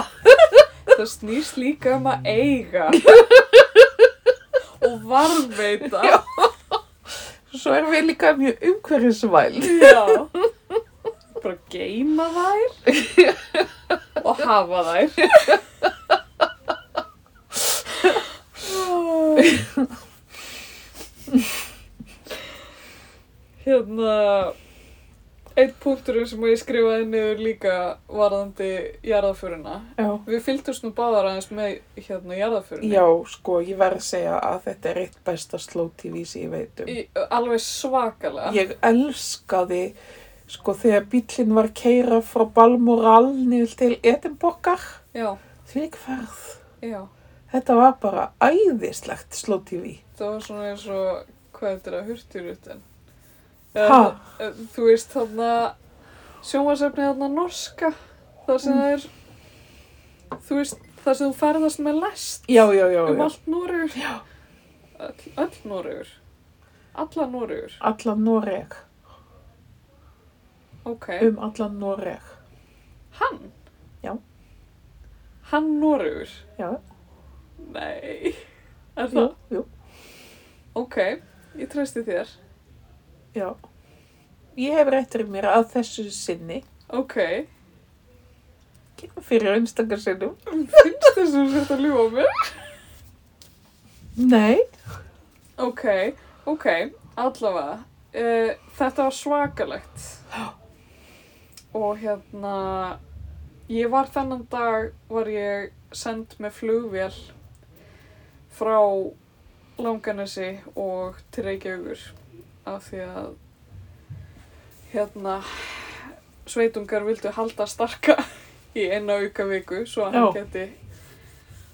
S1: það snýst líka um að eiga og varmveita.
S2: Já. Svo erum við líka mjög umhverfisvæl.
S1: Já. Bara geima þær og hafa þær. hérna, einn punkturinn sem ég skrifaði niður líka varðandi jarðaföruna.
S2: Já.
S1: Við fylgdumst nú báðar aðeins með hérna jarðaförunni.
S2: Já, sko, ég verð að segja að þetta er eitt besta slow tv sem ég veit um.
S1: Í, alveg svakalega.
S2: Ég elskaði, sko, þegar bíllinn var keira frá Balmoral niður til Edinborgar.
S1: Já,
S2: Því ekki ferð.
S1: já.
S2: Þetta var bara æðislegt slow tv.
S1: Það var svona eins og, hvað er þetta, hurtirutin?
S2: Ha?
S1: Þú veist þarna, sjónvarsefni þarna norska, þar sem
S2: Mm.
S1: það er, þú veist, þar sem þú ferðast með lest
S2: Já, já, já,
S1: um
S2: já.
S1: allt Noregur. Já. Öll, öll Noregur. Alla Noregur.
S2: Allan Noreg.
S1: Ok.
S2: um allan Noreg.
S1: Hann?
S2: Já.
S1: Hann Noregur?
S2: Já,
S1: Nei. Er það?
S2: jú, jú,
S1: Ok, ég treysti þér.
S2: já. Ég hef réttur mér að þessu sinni,
S1: Ok.
S2: fyrir einstakar sinnum.
S1: Finnst þess að þú sért að ljúa mér?
S2: Nei,
S1: Ok, ok, allavega. Uh, þetta var svakalegt. Og hérna, ég var þennan dag, var ég send með flugvél frá Langanesi og til Reykjavíkur af því að hérna sveitungar vildu halda starka í eina auka viku svo að hann
S2: Já.
S1: geti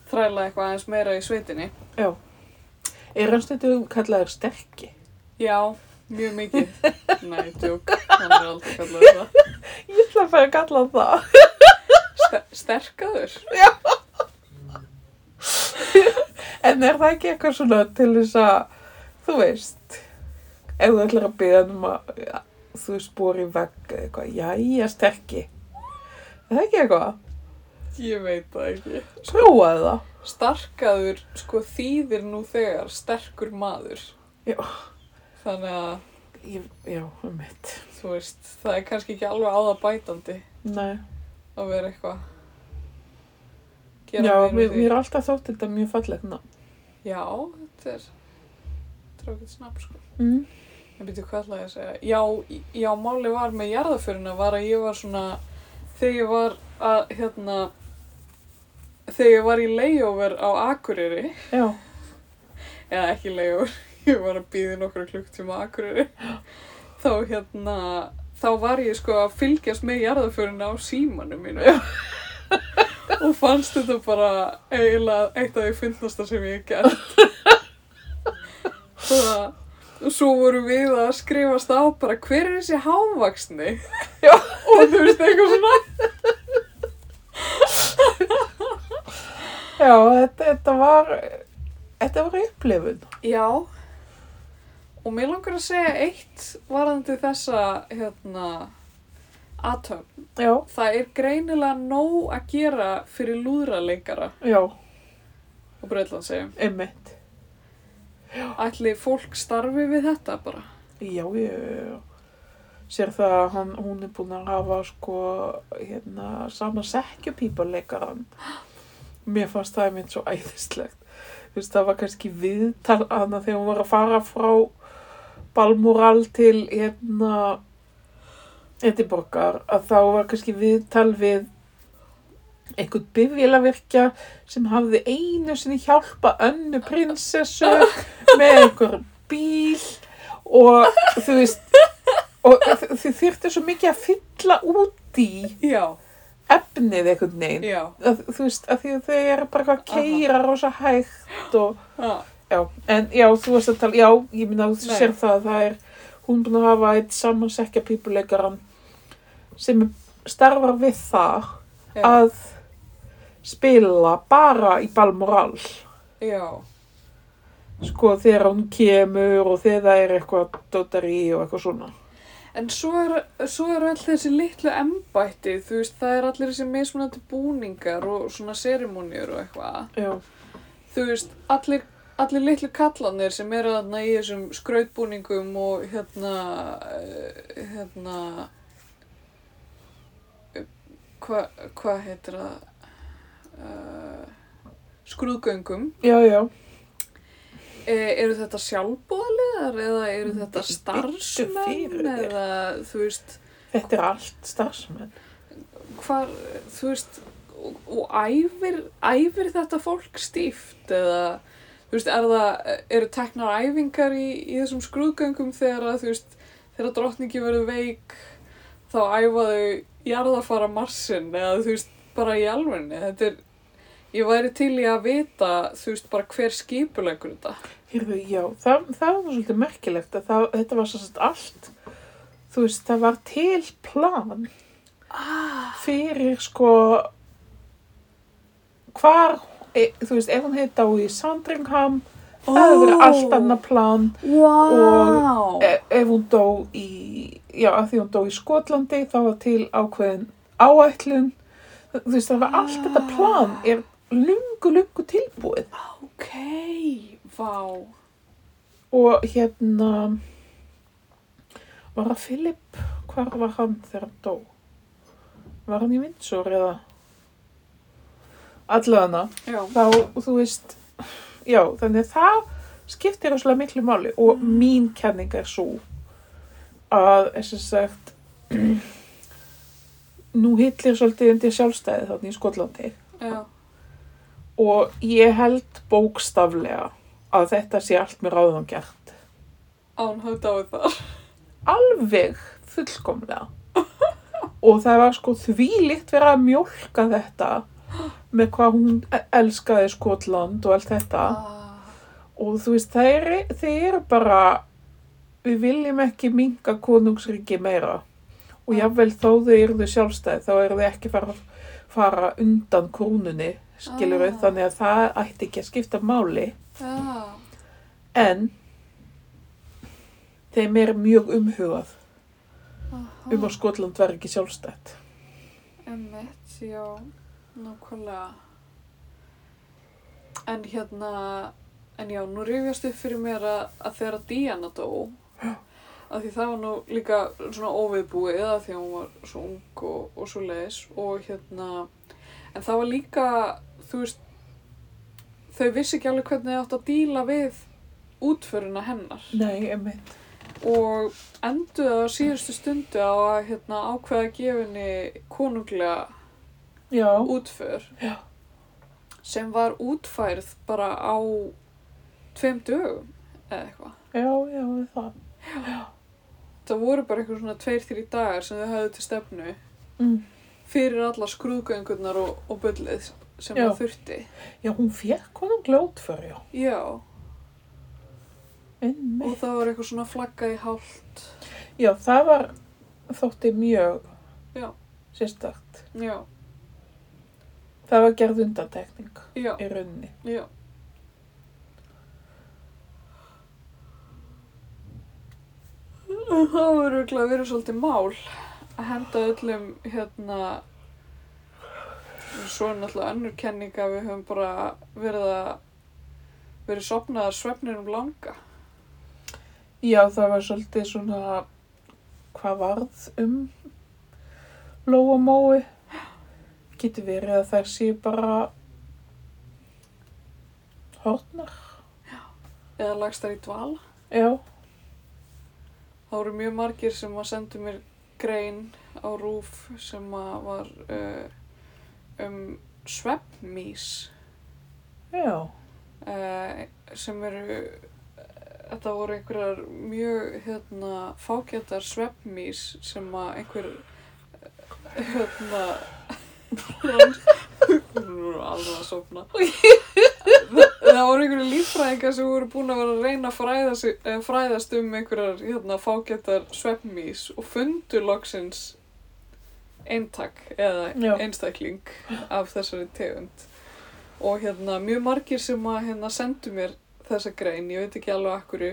S1: þræla eitthvað aðeins meira í sveitinni.
S2: já. Er hann stundum kallaður sterki?
S1: Já, Mjög mikið. Nei, djók. Hann er aldrei kallaður það.
S2: Ég ætla að fara að kalla hann það.
S1: Ste- Sterkaður?
S2: En er það ekki eitthvað svona til þess að, þú veist, ef þú ætlar að byrja um að, ja, þú veist, bóri vegg eða eitthvað, jæja, sterkki. Er það ekki eitthvað?
S1: Ég veit það ekki.
S2: Prófaðu það.
S1: Starkaður, sko, þýðir nú þegar sterkur maður.
S2: Já.
S1: Þannig að,
S2: Ég, já, um mitt.
S1: þú veist, það er kannski ekki alveg aðabætandi
S2: Nei.
S1: að vera eitthvað.
S2: Já,
S1: meira úr
S2: mér,
S1: því.
S2: mér er alltaf þótt þetta mjög fallegt ná.
S1: Já, þetta er, þetta er okkur snabb, sko.
S2: Mm.
S1: En býttu, hvað ætlaði ég að segja? Já, í- já, máli var með jarðaförina var að ég var svona, þegar ég var að, hérna, þegar ég var í layover á Akureyri,
S2: Já,
S1: eða ekki layover, ég var að býði nokkra klukktíma á Akureyri, þá, hérna, þá var ég sko að fylgjast með jarðaförina á símanum mínu. Og fannst þetta bara eiginlega eitt af því fyndnasta sem ég hef gert. Svo að, og svo vorum við að skrifast á bara hver er þessi hávaksni
S2: Já.
S1: og þú veist eitthvað svona
S2: já þetta, þetta var, þetta var upplifun.
S1: já og mér langar að segja eitt varðandi þessa hérna aðtöfn
S2: Já,
S1: það er greinilega nóg að gera fyrir lúðraleikara
S2: já,
S1: og Breitland segjum
S2: um mitt.
S1: ætli fólk starfi við þetta bara
S2: Já, ég eh, sér það að hann, hún er búin að hafa sko hérna sama sekkjupíparleikaran. Mér fannst það einmitt svo æðislegt. Þú veist, það var kannski viðtal hana þegar hún var að fara frá Balmoral til hérna Edinborgar að þá var kannski viðtal við einhvern bifvélavirkja sem hafði einu sinni hjálpa önnu prinsessu með einhver bíl og þú veist og þ- þið þyrftu svo mikið að fylla út í
S1: já,
S2: efnið einhvern veginn
S1: já,
S2: að, þú veist að því að þau eru bara eitthvað að keira rosa hægt og
S1: já,
S2: já, en já þú veist að tala já, ég minna þú
S1: Nei.
S2: sér það að það er hún búin að hafa eitt samansekja pípuleikaran sem starfar við það
S1: já,
S2: að spila bara í Balmoral
S1: já.
S2: sko þegar hún kemur og þegar það er eitthvað dotari og eitthvað svona
S1: En svo eru svo er allir þessi litlu embætti, þú veist, það er allir þessi mismunandi búningar og svona serimónjur og eitthvað.
S2: já,
S1: Þú veist, allir, allir litlu kallanir sem eru þarna í þessum skrautbúningum og hérna, eh, hérna, eh, hva- hvað heitir það, uh, skrúðgöngum,
S2: já, já
S1: e, eru þetta sjálfbóðaliðar eða eru þetta
S2: Bíddu fyrir
S1: starfsmenn
S2: þér.
S1: eða, þú veist,
S2: Þetta er allt starfsmenn.
S1: hvar, þú veist, og, og æfir, æfir þetta fólk stíft eða, þú veist, er það, eru teknar æfingar í, í þessum skrúðgöngum þegar að, þú veist, þegar drottningi verður veik, þá æfa þau jarðafara marsinn eða, þú veist, bara í alvegni, þetta er, ég væri til í að vita, þú veist, bara hver skipulegur þetta.
S2: Hérðu, já, það, það var nú svolítið merkilegt að það, þetta var svo sett allt, þú veist, það var til plan
S1: Ah.
S2: fyrir sko hvar, e, þú veist, ef hún heita á í Sandringham, það hefur verið allt annað plan.
S1: Wow.
S2: E, ef hún dó í, já, að því hún dó í Skotlandi, þá var til ákveðin áætlun, þú veist, það var allt þetta plan er lungu, lungu tilbúið.
S1: ok, vá.
S2: og hérna var það Filip hvar var hann þegar hann dó var hann í Vindsor eða allavega
S1: Já,
S2: þá þú veist já þannig að það skiptir rosalega miklu máli og mín kenning er svo að eins og sagt nú hillir svolítið undir sjálfstæði þannig í Skotlandi
S1: já,
S2: og ég held bókstaflega að þetta sé allt með ráðum gert
S1: án hafði dáið þar.
S2: alveg fullkomlega og það var sko þvílíkt verið að mjólka þetta með hvað hún e- elskaði Skotland og allt þetta
S1: Ah.
S2: og þú veist, þeir, þeir eru bara við viljum ekki minga konungsríki meira og
S1: Já.
S2: jáfnvel þó þau eru þau sjálfstæð þá eru þau ekki fara, fara undan krúnunni skilur við
S1: Ah.
S2: þannig að það ætti ekki að skipta máli
S1: Já.
S2: en þeim er mjög umhugað
S1: Aha.
S2: um að Skotland verði ekki sjálfstætt
S1: Emmett, já, nákvæmlega. En hérna, en já, nú rifjast upp fyrir mér að, að þegar að Diana dó, að því það var nú líka svona óviðbúið að því að hún var svo ung og, og svo leiðis og hérna, en það var líka, þú veist, þau vissi ekki alveg hvernig þau átt að díla við útföruna hennar
S2: nei, einmitt
S1: og enduðu á síðustu stundu á að hérna, ákveða að gefa henni konunglega
S2: já,
S1: útför
S2: Já.
S1: sem var útfærð bara á tveim dögum eða eitthvað.
S2: já, já, það
S1: Það voru bara eitthvað svona tveir, þrý dagar sem þau höfðu til stefnu
S2: mm.
S1: fyrir allar skrúðgöngurnar og, og bullið sem
S2: Já.
S1: það þurfti.
S2: já, hún fekk konunglega útför já,
S1: Já,
S2: einmitt
S1: og það var eitthvað svona flagga í hálft.
S2: Já, það var þótti mjög
S1: Já.
S2: sérstakt.
S1: Já,
S2: Það var gerð undantekning
S1: já,
S2: í rauninni.
S1: já. Það voru auðvitað verið svolítið mál að henda öllum hérna svo er náttúrulega önnur kenning að við höfum bara verið að verið sopnaðar svefnir um langa
S2: Já, það var svolítið svona hvað varð um Lóamói. Getur verið að þær séu bara hortnar.
S1: eða lagstar í dval.
S2: Já,
S1: Það voru mjög margir sem að sendu mér grein á rúf sem að var uh, um svefnmís.
S2: já,
S1: eh, sem eru eh, þetta voru einhverjar mjög hérna, fágættar svefnmís sem að einhver eh, hérna rann- Nú er alveg að sofna það, það voru einhverju líffræðingar sem voru búin að vera að reyna að fræðast, fræðast um einhverjar hérna, fágættar svefnmís og fundu loksins eintak eða
S2: Já.
S1: einstakling af þessari tegund og hérna mjög margir sem að hérna sendu mér þessa grein, ég veit ekki alveg akkur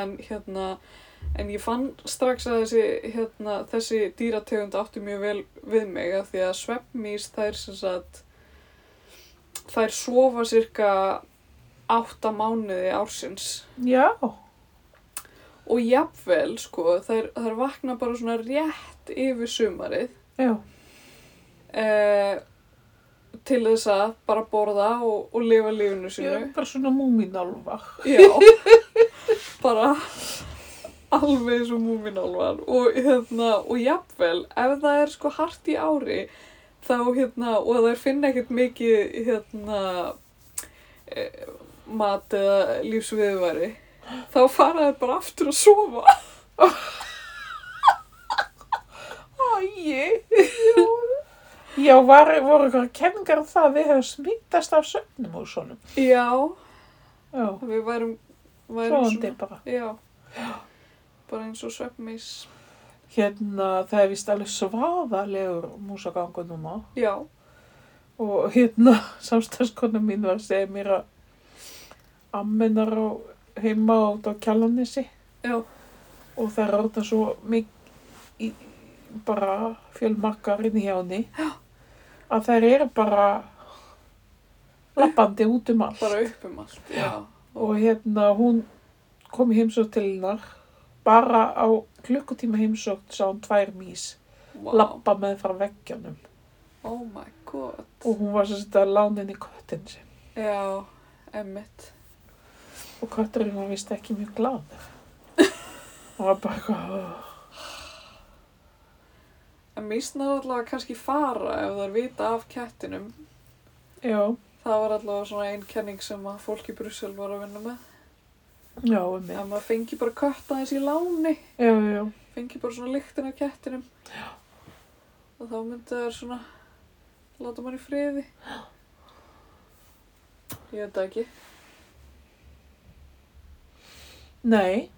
S1: en hérna en ég fann strax að þessi hérna, þessi dýrategund átti mjög vel við mig af því að svefnmís þær sem sagt þær sofa cirka átta mánuði ársins
S2: já,
S1: og jafnvel sko þær, þær vakna bara svona rétt yfir sumarið
S2: já,
S1: eh, til þess að bara borða og, og lifa lífinu
S2: ég
S1: sínu
S2: er bara svona múminálfa.
S1: Já, bara alveg eins og múminálvar og hérna, og jafnvel, ef það er sko hart í ári, þá hérna, og þær finna ekkert mikið, hérna, e, mat eða lífsviðværi, þá fara þær bara aftur að sofa.
S2: Æi, já, var, voru eitthvað kenningar um það að við hefum smittast af sögnum og svona.
S1: Já,
S2: Já,
S1: við værum, værum
S2: svoandi bara.
S1: já, bara eins og svefnmís,
S2: Hérna, það er vist alveg svaðalegur músagangur núna
S1: já,
S2: og hérna, samstagskona mín var að segja mér að ammenar á heima át á kjallanessi
S1: já,
S2: og það er orðna svo mikið í, bara fjölmarkar inn í hjá henni að þær eru bara lappandi út um allt
S1: bara upp um allt, já,
S2: og hérna, hún kom í heimsótt til hennar bara á klukkutíma heimsótt sá hún tvær mís
S1: wow,
S2: lappa með frá veggjanum
S1: oh my god.
S2: og hún var sérst að lána henni köttin sinn
S1: Já, emmitt.
S2: og kötturinn var vist ekki mjög glad og var bara eitthvað "Ugh."
S1: En mísnar allavega kannski fara ef það er vita af kettinum.
S2: já,
S1: Það var allavega svona einn kenning sem að fólk í Brussel var að vinna með.
S2: já, um
S1: Að maður fengi bara kött aðeins í láni.
S2: já, já,
S1: Fengi bara svona lyktin af kettinum. Já. Og þá myndi það svona, láta mann í friði. Ég veit það ekki.
S2: nei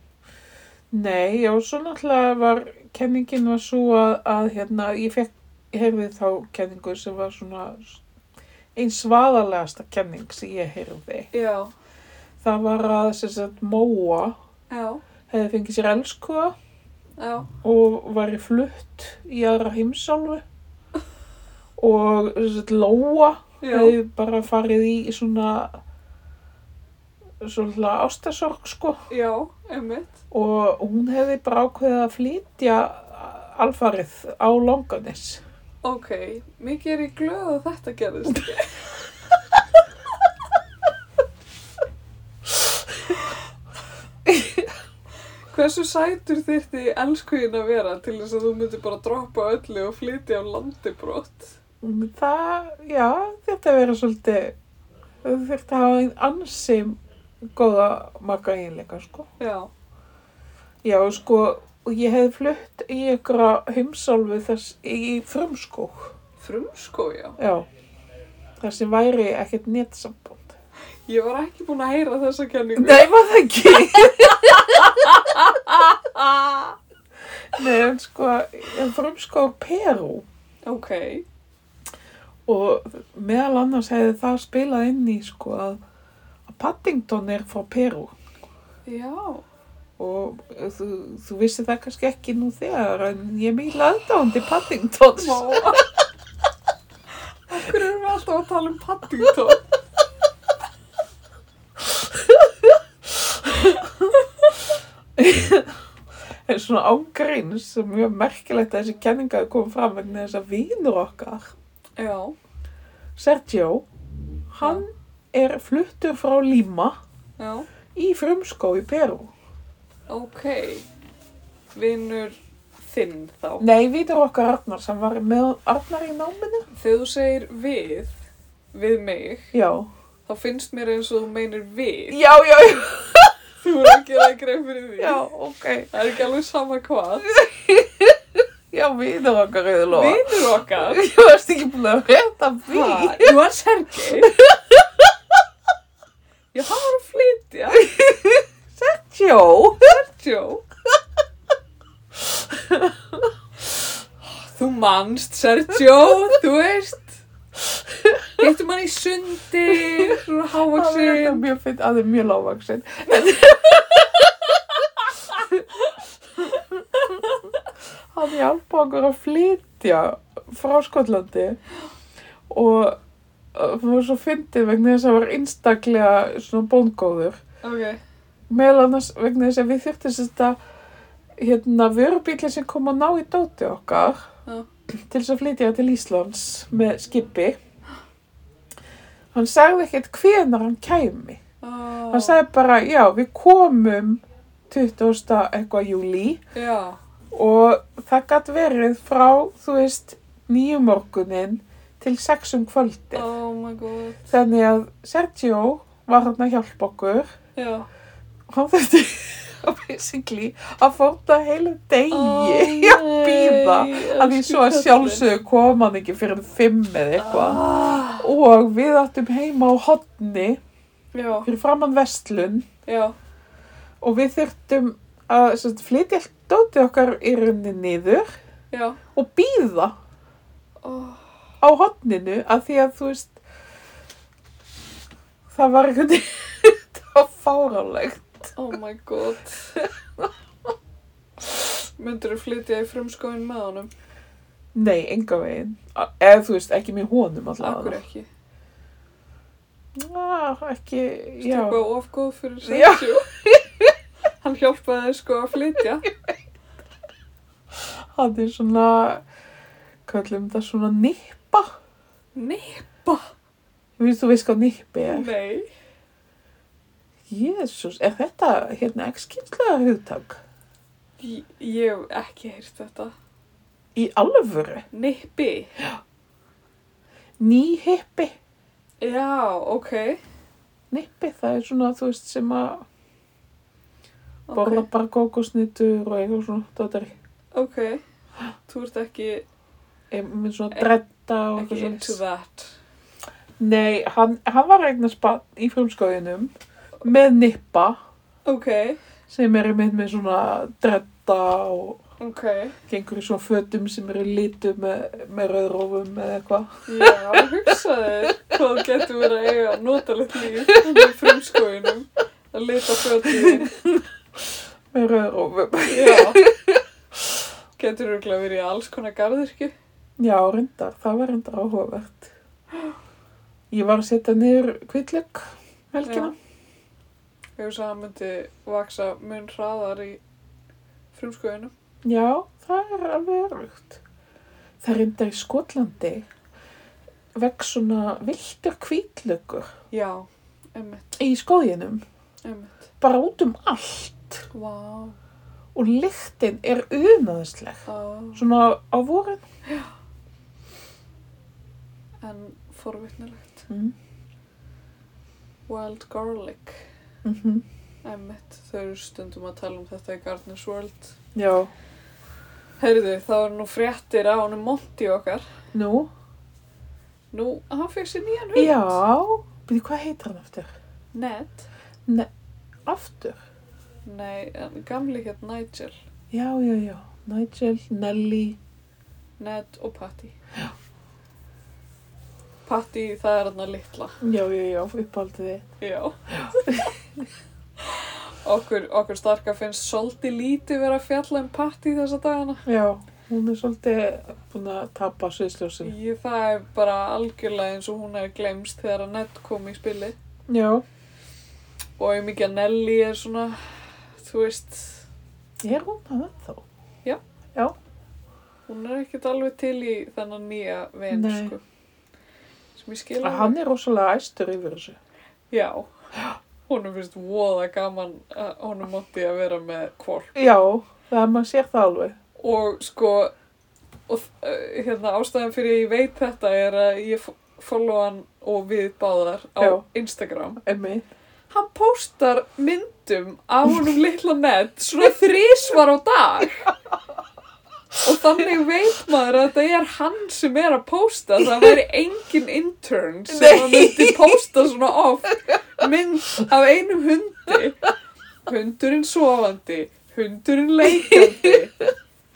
S2: Nei, já, svo náttúrulega var, kenningin var svo að, að hérna, ég fekk, heyrði þá kenningu sem var svona einn svaðalegasta kenning sem ég heyrði.
S1: Já,
S2: Það var að, sem sagt, Móa
S1: já,
S2: hefði fengið sér elskua
S1: já,
S2: og væri flutt í aðra heimsálfu og, sem sagt, Lóa
S1: já,
S2: hefði bara farið í svona, svona ástasorg, sko.
S1: já, einmitt.
S2: og hún hefði bara ákveðið að flytja alfarið á Longanes.
S1: Ok, mikið er ég glöð að þetta gerðist. Hversu sætur þyrfti elskuðin að vera til þess að þú myndir bara droppa öllu og flytja um á landibrott?
S2: Það, já, þetta að vera svolítið, þú þurft að hafa einn ansim góða marga eiginleika, sko.
S1: Já,
S2: Já, sko, og ég hefði flutt í ykkur heimsálfu þess í frumskók,
S1: frumskó, já.
S2: já, þar sem væri ekkert netsamband.
S1: Ég var ekki búin að heyra þessa kenningu.
S2: Nei, var það ekki?
S1: Ah,
S2: Nei, en sko, en frumskók sko, Perú.
S1: ok,
S2: og meðal annars hefði það spilað inn í sko að, að Paddington er frá Peru
S1: já,
S2: og eh, þú, þú vissi það kannski ekki nú þegar en ég er mikil aðdáðandi Paddingtons
S1: má. Af hverju erum við alltaf að tala um Paddington?
S2: en svona ángríns sem mjög merkilegt að þessi kenningaði kom fram vegna þess að vinur okkar
S1: Já,
S2: Sergio hann er fluttur frá Lima
S1: já,
S2: í frumskó í Peru
S1: ok. Vinnur þinn þá.
S2: nei, vinur okkar Arnar sem var með Arnar í náminu
S1: Þegar þú segir við, við mig,
S2: já,
S1: þá finnst mér eins og þú meinir við.
S2: já, já, já,
S1: Þú er ekki að greið fyrir því.
S2: já ok
S1: Það er ekki alveg sama hvað.
S2: Já, viður okkar auður lofa.
S1: Vinnur okkar.
S2: Ég varst ekki búin að rétta því.
S1: Hvað? Þú var Sergei? Já, hann var að flytja.
S2: Jó.
S1: Sergio. Þú manst, Sergio, þú veist. Hittum hann í sundi, svona
S2: Það er þetta
S1: hávaxin.
S2: mjög fint, það er mjög lágvaksinn. Hann hjálpa okkur að flytja frá Skotlandi og uh, það var svo fyndið vegna þess að hann var einstaklega svona bóngóður.
S1: Ok,
S2: Meðal annars vegna þess að við þyrftum þetta hérna vörubíli sem kom að ná í dóti okkar
S1: Já.
S2: til þess að flytja til Íslands með skipi. Hann sagði ekkert hvenar hann kæmi.
S1: oh,
S2: Hann sagði bara, já, við komum 20. eitthvað júli
S1: já,
S2: og það gætt verið frá, þú veist, nýju morgunin til sex um kvöldi.
S1: oh my god,
S2: Þannig að Sergio var hann að hjálpa okkur
S1: já,
S2: hann þurfti basically að fórna heilum degi í að býða að því svo að sjálfsögðu kom hann ekki fyrir um fimm eða eitthvað
S1: ah,
S2: og við áttum heima á hotni
S1: Já,
S2: fyrir framann vestlun
S1: já,
S2: og við þurftum að sem sagt, flytja allt dótið okkar í runni niður
S1: já,
S2: og býða
S1: oh,
S2: á hotninu að því að þú veist það var einhvern veginn það var fáránlegt
S1: oh my god Myndirðu flytja í frumskóin með honum?
S2: nei, enga veginn A- eða þú veist, ekki með honum alltaf
S1: Akkur ekki
S2: Já, Ah, ekki, já.
S1: Stöku á ofgóð fyrir
S2: Já.
S1: Sergio Hann hjálpaði þér sko að flytja
S2: Hann er svona, kallum þetta svona nippa.
S1: Nei,
S2: Þú veist, þú veist hvað nippi er.
S1: nei
S2: Jésús, er þetta hérna ekki-kynslega hugtak?
S1: Ég ég hef ekki heyrt þetta
S2: Í alvöru?
S1: Nippi
S2: Nýhippi?
S1: Já, ok,
S2: Nippi, það er svona, þú veist, sem að borða
S1: okay.
S2: bara kókosnitur og eitthvað svona, þetta er
S1: ok Þú ert ekki,
S2: eh, með svona
S1: Eh,
S2: dredda og
S1: ekki
S2: eitthvað
S1: into
S2: svona.
S1: that
S2: Nei, hann, hann var eignar spann í frumskóðinum með nippa
S1: Ok,
S2: sem eru mynd með svona dretta og
S1: Ok,
S2: gengur í svona fötum sem eru lítum með, með rauðrófum eða eitthvað.
S1: já, hugsaði hvað þú getur verið að eiga notalegt líf í frumskóinum að lita fötum.
S2: Með rauðrófum.
S1: Já, getur örgulega verið í alls konar garðirki.
S2: Já, reyndar, það var reyndar áhugavert. Ég var að setja niður kvillug helgina.
S1: Ég veist að það myndi vaksa mun hraðar í frumskóinum.
S2: Já. það er alveg erugt. Það er reyndar í Skotlandi vekk svona viltur kvítlöggur
S1: Já, emmitt,
S2: í skóðinum,
S1: emmitt.
S2: bara út um allt
S1: Vá, wow.
S2: og lyktin er unaðisleg. Svona á vorin.
S1: en forvitnilegt.
S2: Mm.
S1: Wild garlic,
S2: Mm
S1: emmitt. Þau eru stundum að tala um þetta í Gardeners World.
S2: Já,
S1: Heyrðu, þá er nú fréttir á honum Monty okkar.
S2: nú,
S1: Nú, hann fekk sér nýjan hund.
S2: já, byrju hvað heitir hann aftur?
S1: Ned.
S2: Aftur?
S1: Nei, en gamli hétt Nigel.
S2: Já, já, já, Nigel, Nelly,
S1: Ned og Patty. Já. Patty, það er hann að litla.
S2: já, já, já, uppáldið þið.
S1: Já. okkur, okkur starka finnst svolítið lítið vera að fjalla um Patty þessa dagana.
S2: Já, hún er svolítið búin að tapa sviðsljósinu.
S1: Ég, það er bara algjörlega eins og hún er glemst þegar að Ned kom í spili.
S2: Já,
S1: Og ég mikið að Nelly er svona, þú veist,
S2: er hún það ennþá?
S1: hún er ekkert alveg til í þennan nýja vin,
S2: Nei.
S1: sko. Sem ég skil
S2: Að
S1: alveg.
S2: hann er rosalega æstur yfir þessu.
S1: Já. Honum finnst voða gaman að honum mátti að vera með kvolp.
S2: Já, það er maður sér það alveg.
S1: og sko og, uh, hérna ástæðan fyrir ég veit þetta er að ég fo- follow hann og við báðar á
S2: Já.
S1: Instagram
S2: Emmi,
S1: hann póstar myndum af honum litla nett svona þrísvar á dag og þannig veit maður að þetta er hann sem er að pósta það væri engin intern sem
S2: Nei.
S1: að myndi pósta svona oft mynd af einum hundi hundurinn sofandi hundurinn leikandi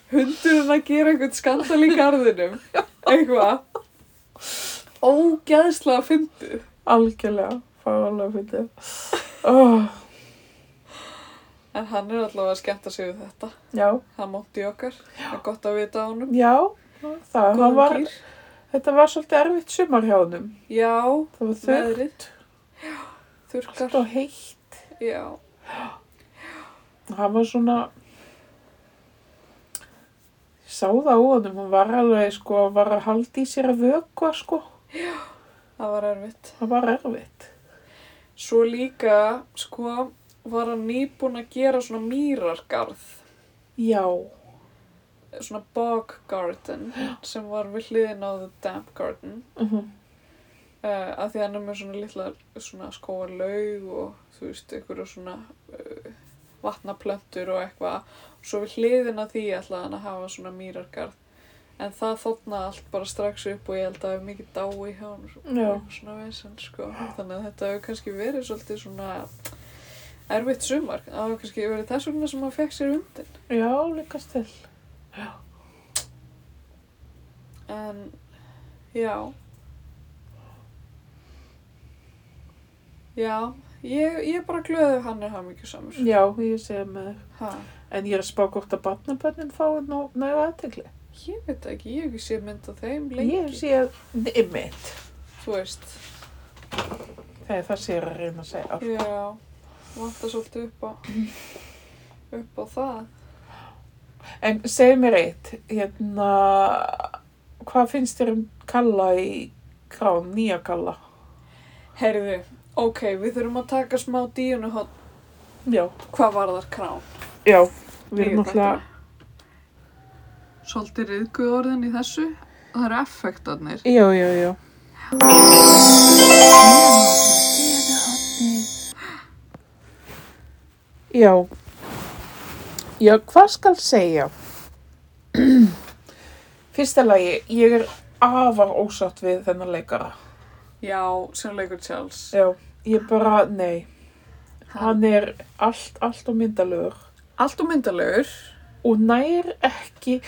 S1: hundurinn að gera einhvern skandal í garðinum eitthvað ógeðslega fyndið
S2: algjörlega, fálega fyrir þið. Oh,
S1: En hann er allavega að skemmta sig við þetta.
S2: já,
S1: Hann mótti okkar. Það er gott að vita á honum.
S2: já, það, hann
S1: Góðan
S2: var,
S1: gír.
S2: þetta var svolítið erfitt sumar hjá hannum.
S1: Já,
S2: Það var þurr,
S1: veðrið. Já, þurrkar.
S2: alltaf heitt.
S1: Já,
S2: hann var svona ég sá það á honum hann var alveg sko, hann var að halda í sér að vökva sko,
S1: það var erfitt.
S2: það var erfitt
S1: Svo líka, sko, var hann nýbúinn að gera svona mýrargarð.
S2: já,
S1: Svona bog garden sem var við hliðin á the damp garden.
S2: uh
S1: Uh, að því hann er með svona litla svona skóarlaug og þú veist, einhverju svona uh, vatnaplöntur og eitthvað svo við hliðina því ætlaði hann að hafa svona mýrargarð en það þóttna allt bara strax upp og ég held að það er mikið dái hjá hann
S2: Já.
S1: svona vesend sko þannig að þetta hefur kannski verið svolítið svona erfitt sumar það hefur kannski verið þess vegna sem hann fekk sér hundin
S2: já, líka sko. stil
S1: en já já ég, ég er bara glöðið hann er hann mikið samur
S2: já, ég segja með þér
S1: ha.
S2: en ég er að spá hvort að barnabönnin fái nú næra aðtegli
S1: Ég veit ekki, ég hef ekki séð mynd af þeim lengi.
S2: ég sé að, neymitt
S1: Þú veist,
S2: þegar það sé ég er að reyna að segja
S1: já, vantar svolítið upp á, upp á það.
S2: en segja mér eitt hérna hvað finnst þér um kalla í krán, nýja kalla
S1: Heyrðu, ok, við þurfum að taka smá díunu hótt.
S2: já,
S1: Hvað var þar krán?
S2: já, við
S1: Ég
S2: erum
S1: fatta.
S2: náttúrulega
S1: Svolítið riðguð orðin í þessu. Það eru effektarnir.
S2: Já, já, já. Já. Já, hvað skal segja? Fyrsta lagi, ég er afar ósatt við þennan leikara.
S1: Já, sem leikur Charles.
S2: Já, ég bara, nei.
S1: Hann
S2: Hann er allt, allt og myndalögur
S1: allt og myndalegur.
S2: og nær ekki,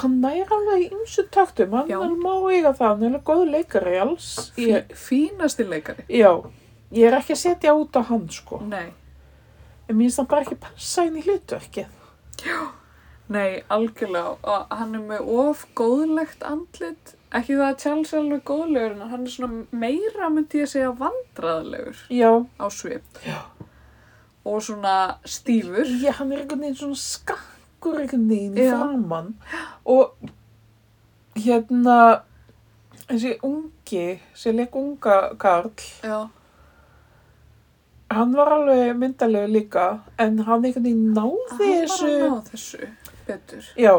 S2: hann nær alveg ymsu taktum, hann
S1: Já.
S2: er má eiga það, hann er alveg góð leikari alls. Ég,
S1: Fí, fínasti leikari.
S2: já, ég er ekki að setja út á hann sko,
S1: Nei.
S2: en mér finnst hann bara ekki passa inn í hlutverkið.
S1: Nei, algjörlega. Og hann er með of góðlegt andlit. Ekki það að Charles er alveg góðlegur, en hann er svona meira, myndi ég segja, vandræðilegur
S2: Já,
S1: á svip. Já. Og svona stífur.
S2: já, hann er einhvern veginn svona skakkur einhvern veginn í
S1: Já.
S2: framann og hérna, þessi ungi, þessi leik unga karl,
S1: Já.
S2: hann var alveg myndalögur líka, en hann einhvern veginn náði þessu.
S1: Hann var að ná þessu betur.
S2: Já,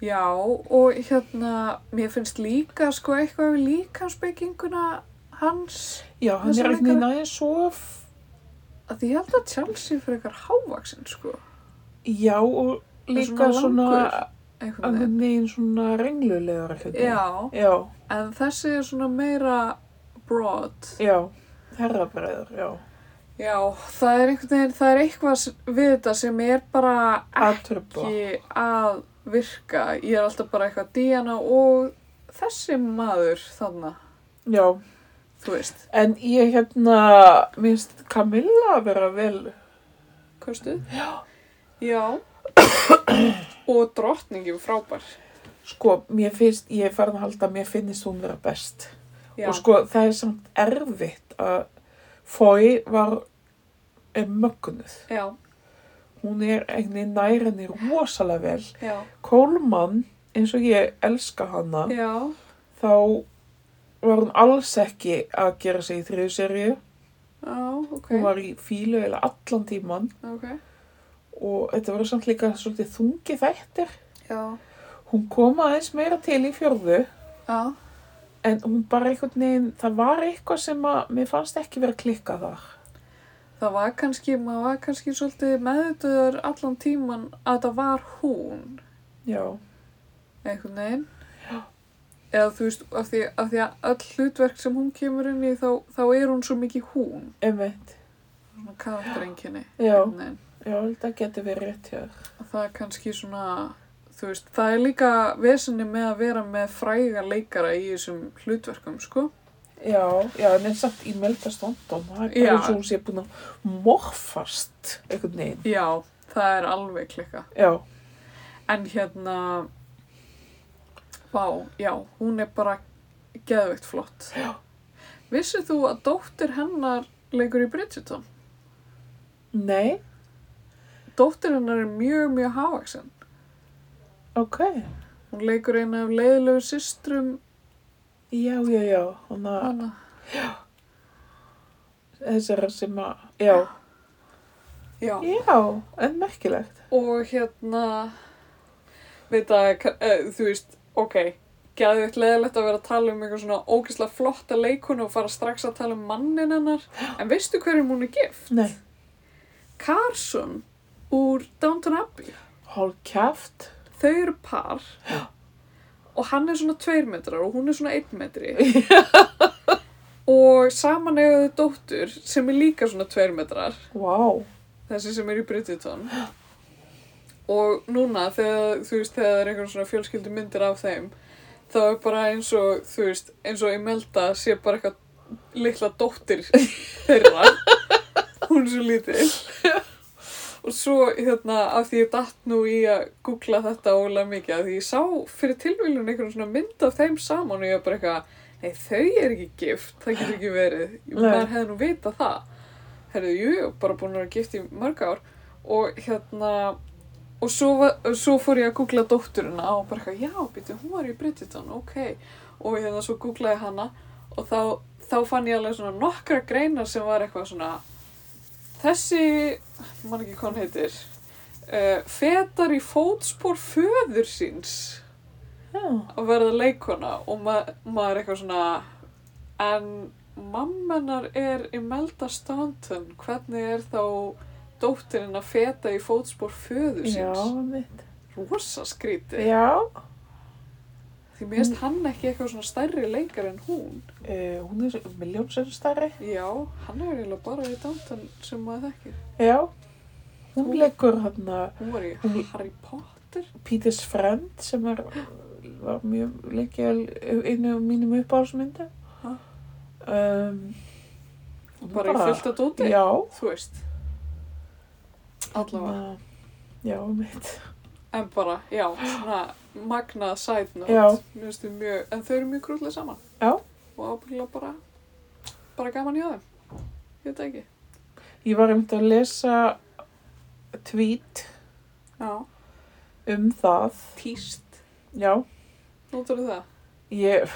S1: Já, og hérna, mér finnst líka, sko, eitthvað við líkansbygginguna hans.
S2: já, hann
S1: Þessi
S2: er einhvern veginn
S1: leikari.
S2: aðeins svo
S1: Að því ég held að Charles sé fyrir eitthvað hávaksin, sko.
S2: Já, og líka
S1: svona
S2: svona,
S1: langur. Einhvern veginn.
S2: einhvern veginn svona renglulegur ekkert.
S1: Já,
S2: Já,
S1: en þessi er svona meira broad.
S2: já, herrabræður, já.
S1: Já, það er einhvern veginn, það er eitthvað s- við þetta sem er bara
S2: Atrubba.
S1: ekki að virka. Ég er alltaf bara eitthvað Diana og þessi maður þarna,
S2: Já,
S1: þú veist.
S2: en ég hérna, minnst Camilla vera vel.
S1: Kostuð? Já. Já. og drottningi frábær.
S2: Sko, mér finnst, ég er farin að halda að mér finnist hún vera best.
S1: Já.
S2: Og sko, það er samt erfitt að Fói var eh, mögnuð.
S1: já,
S2: Hún er einnig nærinni rosalega vel.
S1: já,
S2: Kólmann, eins og ég elska hana.
S1: já,
S2: þá var hún alls ekki að gera sig í þriðu seríu.
S1: já, ok,
S2: Hún var í fílu eða allan tíman
S1: ok,
S2: og þetta var samt líka svolítið þungi þættir.
S1: já,
S2: Hún kom aðeins meira til í fjörðu
S1: já,
S2: en hún bara einhvern veginn, það var eitthvað sem að mér fannst ekki vera klikkað þar.
S1: það var kannski, maður var kannski svolítið meðutöður allan tíman að það var hún,
S2: Já,
S1: einhvern veginn, eða þú veist, af því, af því að öll hlutverk sem hún kemur inn í þá, þá er hún svo mikið hún,
S2: einmitt.
S1: svona karakterengini,
S2: Já,
S1: einhvern veginn.
S2: já, þetta getur verið rétt hjá þér.
S1: Og það er kannski svona, þú veist, það er líka vesenni með að vera með fræga leikara í þessum hlutverkum, sko.
S2: Já, já, en eins og í Melda Stondon, það er
S1: Já.
S2: bara eins og hún sé búin að morfast einhvern veginn.
S1: Já, það er alveg klikka.
S2: Já,
S1: En hérna, vá, já, hún er bara geðveikt flott. Já. Vissið þú að dóttir hennar leikur í Bridgerton?
S2: nei,
S1: Dóttir hennar er mjög, mjög hávaksin.
S2: ok.
S1: Hún leikur eina af leiðilegu systrum
S2: Já, já, já, hún að...
S1: hana.
S2: þessara sem að, já,
S1: Já.
S2: já, en merkilegt.
S1: Og hérna, veit að, uh, þú veist, ok, gæðið leðilegt að vera að tala um eitthvað svona ógeðslega flotta leikonu og fara strax að tala um mannin hennar. En veistu hverjum hún er gift?
S2: Nei,
S1: Carson úr Downton Abbey.
S2: hálf kæft.
S1: Þau eru par og hann er svona tveir metrar og hún er svona einn metri. og saman eiga þau dóttur sem er líka svona tveir metrar.
S2: Vá, wow.
S1: þessi sem er í Bridgerton og núna þegar þú veist þegar það er einhvern svona fjölskyldu myndir af þeim þá er bara eins og þú veist eins og Imelda sé bara eitthvað litla dóttir þeirra hún er svo lítil og svo hérna af því ég datt nú í að googla þetta ólega mikið af því ég sá fyrir tilvílun einhvern svona mynd af þeim saman og ég var bara eitthvað nei þau er ekki gift, það getur ekki verið
S2: Nei.
S1: maður hefði nú vita það herðu, jú, jú, bara búin að vera gift í mörg ár og hérna og svo, var, svo fór ég að googla dótturina og bara eitthvað, já, býttu, hún var í Bridgerton, ok og hérna svo googlaði hana og þá, þá fann ég alveg svona nokkra greinar sem var eitthvað svona þessi, mann ekki hvað hann heitir uh, fetar í fótspor föður síns
S2: já,
S1: að verða leikona og ma maður eitthvað svona en mammenar er Imelda Staunton hvernig er þá dóttirinn að feta í fótspor föður
S2: já,
S1: síns
S2: mitt.
S1: rosa skrítið
S2: Já,
S1: Því mér finnst hann ekki eitthvað svona stærri leikar en hún.
S2: Uh, hún er miljónsinn starri.
S1: Já, hann er eiginlega bara í Downton sem maður þekkir.
S2: Já. Hún
S1: Þú-
S2: leikur hann að
S1: Hún var í
S2: Hún-
S1: Harry Potter.
S2: Peters Friend sem er, var mjög leikja einu af mínum uppáhalsmyndu.
S1: Ha?
S2: Um,
S1: Hún bara í fullt að dóti.
S2: Já.
S1: Þú veist. Allavega.
S2: Na, Já, mitt.
S1: En bara, já, svona magnað side note.
S2: Já.
S1: Mér finnst þau mjög, en þau eru mjög krúllið saman.
S2: Já.
S1: Og ábyggilega bara, bara gaman hjá þeim. Ég veit það ekki.
S2: Ég var um að lesa tweet
S1: Já.
S2: um það.
S1: Tíst.
S2: Já.
S1: Nótur það?
S2: Ég,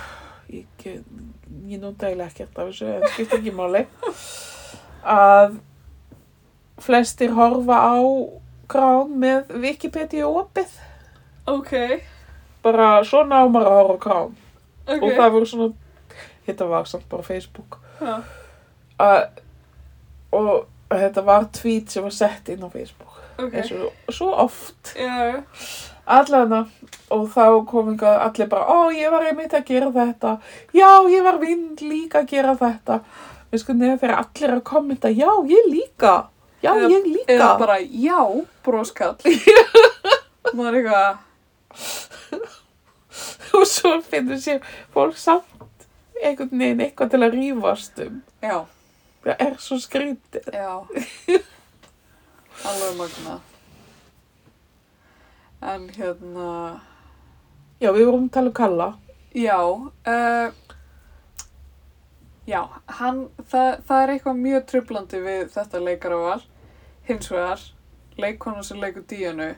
S2: ég, ég nota eiginlega ekkert af þessu, en skipt ekki máli, að flestir horfa á krán með Wikipedia opið.
S1: Ok,
S2: Bara svona á maður að horfa á krán.
S1: ok.
S2: Og það voru svona, þetta var samt bara Facebook.
S1: Já.
S2: Að, og þetta var tweet sem var sett inn á Facebook.
S1: Ok.
S2: eins og svo oft.
S1: Já, já.
S2: Allavega, og þá kom einhver allir bara, ó, ég var einmitt að gera þetta, já, ég var vind líka að gera þetta. Við sko nefnir þegar allir eru að kommenta, já, ég líka, já,
S1: Eða-
S2: ég líka.
S1: Eða bara, já, broskall. Maður er eitthvað,
S2: Og svo finnur sér fólk samt einhvern veginn eitthvað til að rífast um.
S1: já,
S2: Það er svo skrítið.
S1: já. Alveg magna. En hérna,
S2: Já, við vorum að tala um Kalla.
S1: já, uh, já, hann, það, það er eitthvað mjög trublandi við þetta leikaraval. Hins vegar, leikona sem leikur díjanu,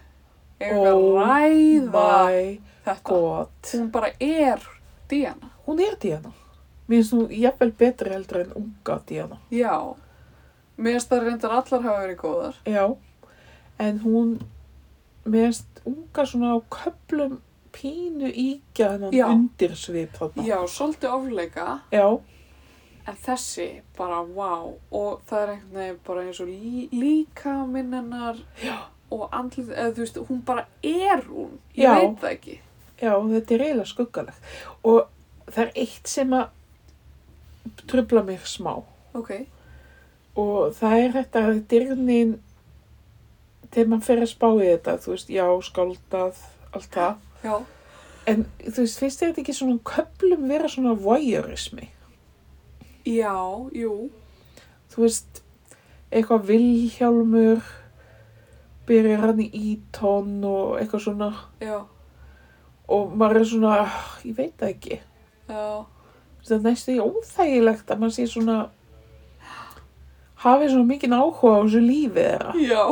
S1: er að
S2: Oh
S1: ræða
S2: My
S1: þetta.
S2: god.
S1: Hún bara er díjana.
S2: Hún er Diana. Mér finnst hún jafnvel betri heldur en unga Diana.
S1: Já, mér finnst það reyndar allar hafa verið góðar.
S2: Já, en hún meðast unga svona á köplum pínu íkja hennan
S1: Já.
S2: undirsvip þarna.
S1: Já, svolítið ofleika,
S2: Já,
S1: en þessi bara wow og það er einhvern veginn bara eins og lí, líka minnenar og andlið, eða þú veist, hún bara er hún, ég
S2: Já.
S1: veit það ekki.
S2: já, þetta er eiginlega skuggalegt. Og það er eitt sem að trubla mig smá.
S1: Ok,
S2: Og það er þetta að dyrnin, þegar mann fer að spá í þetta, þú veist, já, skáldað, allt það.
S1: já,
S2: En þú veist, finnst þér þetta ekki svona á köplum vera svona voyeurismi?
S1: já, jú,
S2: þú veist, eitthvað Vilhjálmur byrjar hann í Ítón og eitthvað svona
S1: já,
S2: og maður er svona, "Ah, ég veit það ekki
S1: já,
S2: það er næstu í óþægilegt að maður sé svona hafi svona mikinn áhuga á þessu lífi þeirra
S1: já.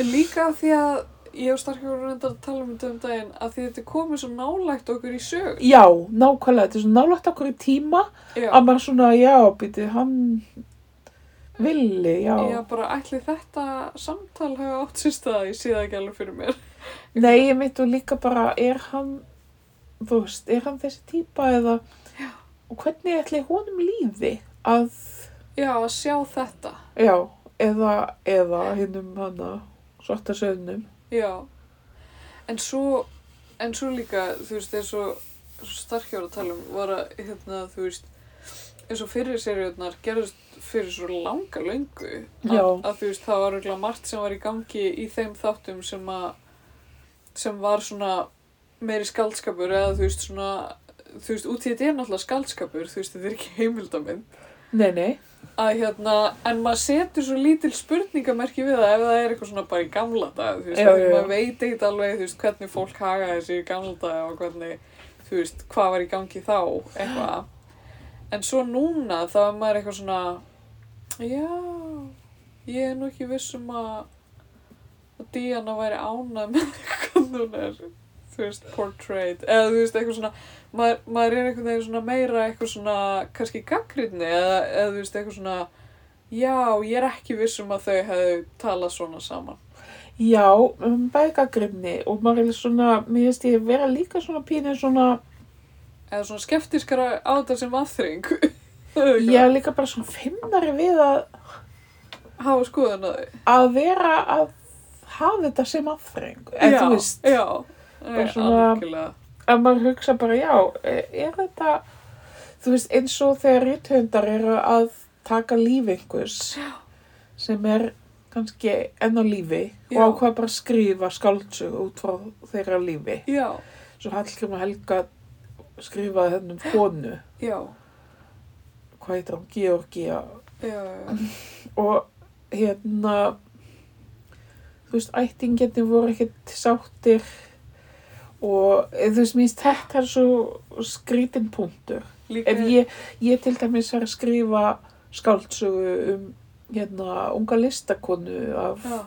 S1: En líka af því að ég og Starkur voru reyndar að tala um þetta um daginn að því þetta er komið svo nálægt okkur í sög.
S2: Já, nákvæmlega, þetta er svona nálægt okkur í tíma
S1: Já,
S2: að maður svona, já, býti, hann villi, já
S1: Ég bara ætli þetta samtal hafa átt sér stað, ég sé það ekki alveg fyrir mér.
S2: Nei, ég mitt og líka bara, er hann, þú veist, er hann þessi típa eða, og hvernig ætli honum líði að,
S1: Já, að sjá þetta.
S2: já, eða, eða hinnum hana, svarta sögnum.
S1: Já. En svo, en svo líka, þú veist, eins og starkjóra talum var að, hérna, þú veist, eins og fyrir seriðunar gerðist fyrir svo langa löngu.
S2: Já.
S1: Að, að þú veist, það var auðvitað margt sem var í gangi í þeim þáttum sem að, sem var svona meiri skaldskapur eða þú veist svona, þú veist, út í þetta er náttúrulega skaldskapur, þú veist, þetta er ekki heimildamind.
S2: Nei, nei,
S1: að hérna, en maður setur svo lítil spurningamerki við það ef það er eitthvað svona bara í gamla dag, þú veist,
S2: Já,
S1: já,
S2: já, já.
S1: maður veit ekkert alveg, þú veist, hvernig fólk hagaði sér í gamla dag og hvernig, þú veist, hvað var í gangi þá, eitthvað. En svo núna þá er maður eitthvað svona, já, ég er nú ekki viss um að, að Diana væri ánað með hvernig hún er, þú veist, portrayed, eða þú veist, eitthvað svona, maður, maður er einhvern veginn svona meira eitthvað svona kannski gaggrinni eða, eða þú veist eitthvað svona já, ég er ekki viss um að þau hefðu talað svona saman.
S2: já, um bækagrimni og maður er svona, mér finnst ég vera líka svona pínu svona,
S1: Eða svona skeptiskara á þetta sem aðþring.
S2: ég er líka bara svona finnari við að,
S1: Hafa skoðun að þau.
S2: að vera að hafa þetta sem aðfreng, eða þú veist,
S1: Já, já. Nei,
S2: Bara svona-
S1: algjörlega.
S2: að maður hugsa bara, já, eh, er þetta, þú veist, eins og þegar rithöndar eru að taka líf einhvers sem er kannski enn á lífi
S1: Já.
S2: og ákvað bara að skrifa skáldsög út frá þeirra lífi.
S1: Já,
S2: Svo Hallgrim og Helga skrifaði hennum konu,
S1: já,
S2: hvað heitir hann, Georgia
S1: já, já,
S2: og hérna, þú veist, ættingetni voru ekkert sáttir og eh, þú veist, minnst þetta er svo skrítin punktur.
S1: líka,
S2: Ef ég, ég til dæmis er að skrifa skáldsögu um hérna unga listakonu af,
S1: já,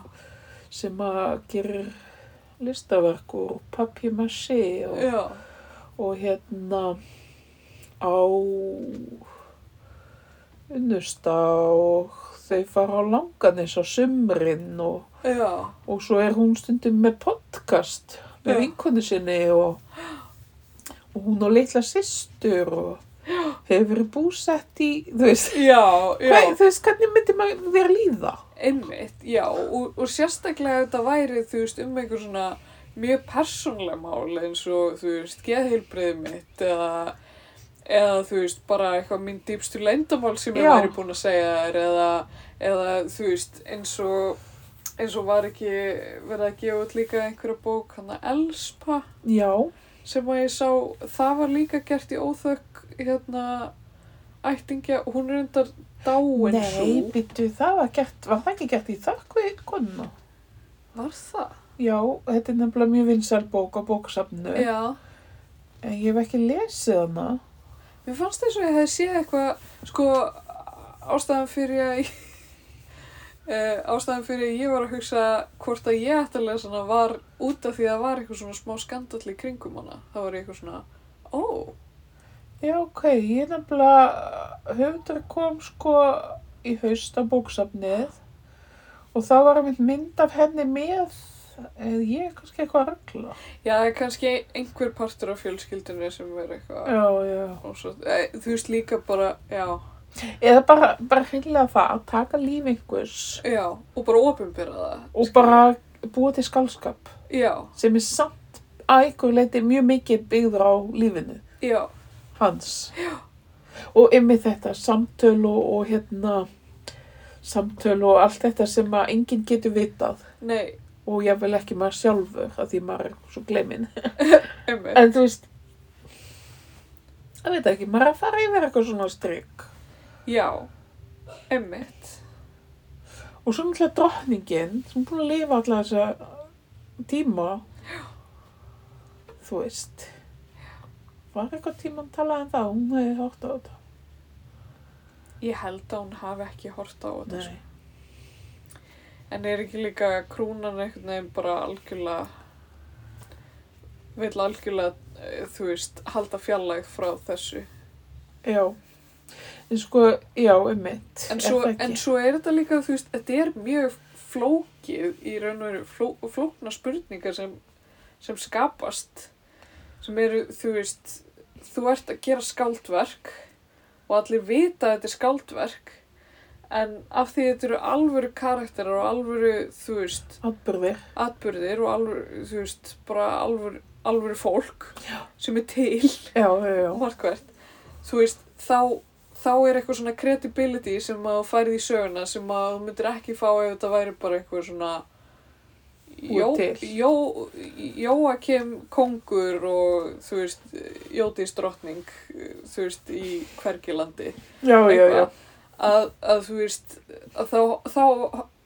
S2: sem að gerir listaverk og papimassi og,
S1: já,
S2: og hérna á unnusta og þau fara á langanis á sumrin og,
S1: já,
S2: og svo er hún stundum með podcast
S1: Já.
S2: með vinkonu sinni og, og hún á litla systur og hefur verið búsett í þú veist,
S1: já, já.
S2: hvað, þú veist hvernig myndi maður þér líða
S1: Einmitt, já, og, og sérstaklega þetta væri, þú veist, um einhver svona mjög persónlega mál eins og, þú veist, geðheilbreið mitt eða, eða, þú veist, bara eitthvað mín dýpstu leyndamál sem ég
S2: Já.
S1: væri búin að segja þér eða, eða, þú veist, eins og, eins og var ekki verið að gefa út líka einhverja bók, hann að Elspa
S2: já,
S1: sem að ég sá, það var líka gert í óþökk, hérna, ættingja, hún er undar dáin
S2: nei,
S1: svo.
S2: býttu það var, gert, var það ekki gert í þakku konuna
S1: Var það?
S2: já, þetta er nefnilega mjög vinsæl bók á bóksafnu
S1: Já.
S2: en ég hef ekki lesið hana
S1: Mér fannst þess að ég hefði séð eitthvað, sko, ástæðan fyrir að ég, uh, ástæðan fyrir að ég var að hugsa hvort að ég ætti að lesa hana var út af því að það var eitthvað svona smá skandall í kringum hana. Það var ég eitthvað svona, ó,
S2: já, ok, ég er nefnilega eh, höfundur kom sko í haust á bóksafnið og þá var einmitt mynd af henni með eða ég er kannski eitthvað að regla
S1: já, það er kannski einhver partur af fjölskyldinu sem verið eitthvað.
S2: já, já
S1: Og svo, e, þú veist líka bara, já,
S2: eða bara, bara hreinlega það að taka líf einhvers
S1: já, og bara ofinbyrða það.
S2: og
S1: skilur.
S2: bara búa til skálskap
S1: Já,
S2: sem er samt að einhver leiti mjög mikið byggður á lífinu
S1: já,
S2: hans já. og ymmið þetta samtöl og, og hérna samtöl og allt þetta sem að enginn getur vitað
S1: nei,
S2: og ég vil ekki maður sjálfur að því maður er svo glemin
S1: einmitt,
S2: en þú veist ég veit ekki, maður er að fara yfir eitthvað svona strik
S1: já, einmitt,
S2: og svo náttúrulega drottningin sem er búin að lifa alla þessa tíma þú veist var eitthvað tíma að tala um það hún hefði hótt á þetta
S1: ég held að hún hafi ekki hort á þetta, sko. En er ekki líka krúnan einhvern veginn bara algjörlega, vill algjörlega, eh, þú veist, halda fjarlægð frá þessu.
S2: já en sko, já, um mitt
S1: En svo, en svo er þetta líka, þú veist, þetta er mjög flókið í raun og veru, fló, flókna spurningar sem, sem skapast, sem eru, þú veist, þú ert að gera skáldverk og allir vita að þetta er skáldverk, en af því þetta eru alvöru karakterar og alvöru, þú veist,
S2: atbyrðir,
S1: atbyrðir og alvöru, þú veist, bara alvöru, alvöru fólk Já. sem er til
S2: já, já, já
S1: og margvert, þú veist, þá, þá er eitthvað svona credibility sem að þú færið í söguna sem að þú myndir ekki fá ef þetta væri bara eitthvað svona Jó,
S2: til.
S1: jó, Jóakim kongur og þú veist, Jódís drottning, þú veist, í hvergilandi
S2: já, já, já,
S1: eitthvað. Að, að þú veist, að þá, þá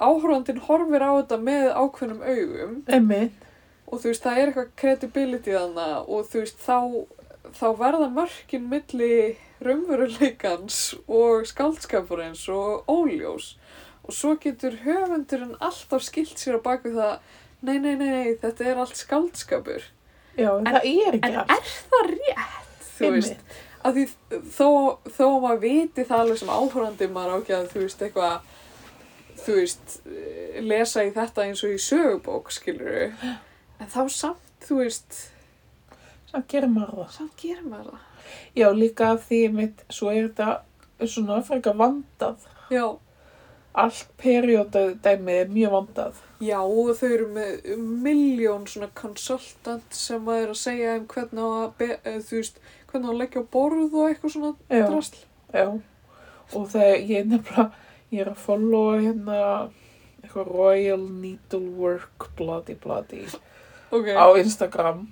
S1: áhróndin horfir á þetta með ákveðnum augum
S2: um mitt
S1: og þú veist, það er eitthvað credibility þannig og þú veist, þá, þá verða mörkin milli raunveruleikans og skaldskapurins og óljós og svo getur höfundurinn alltaf skilt sér á baku það nei, nei, nei, nei, þetta er allt skaldskapur
S2: já, en, það er ekki
S1: en
S2: allt
S1: er það rétt, þú
S2: um
S1: veist
S2: mitt,
S1: að því þó, þó að maður viti það alveg sem áhorandi maður á ekki að þú veist eitthvað þú veist eh, lesa í þetta eins og í sögubók skilur en þá samt þú veist
S2: það gerir maður það
S1: samt gerir maður
S2: já, líka af því mitt, svo er þetta svona frekar vandað
S1: það já,
S2: allt periódæmi er mjög vandað.
S1: Já, og þau eru með miljón svona consultant sem að er að segja þeim hvernig á að, be, eh, þú veist, hvernig á að leggja á borð og eitthvað svona
S2: Já,
S1: drasl.
S2: já. Og þegar ég er nefnilega, ég er að followa hérna eitthvað Royal Needlework bloody bloody
S1: Ok,
S2: á Instagram.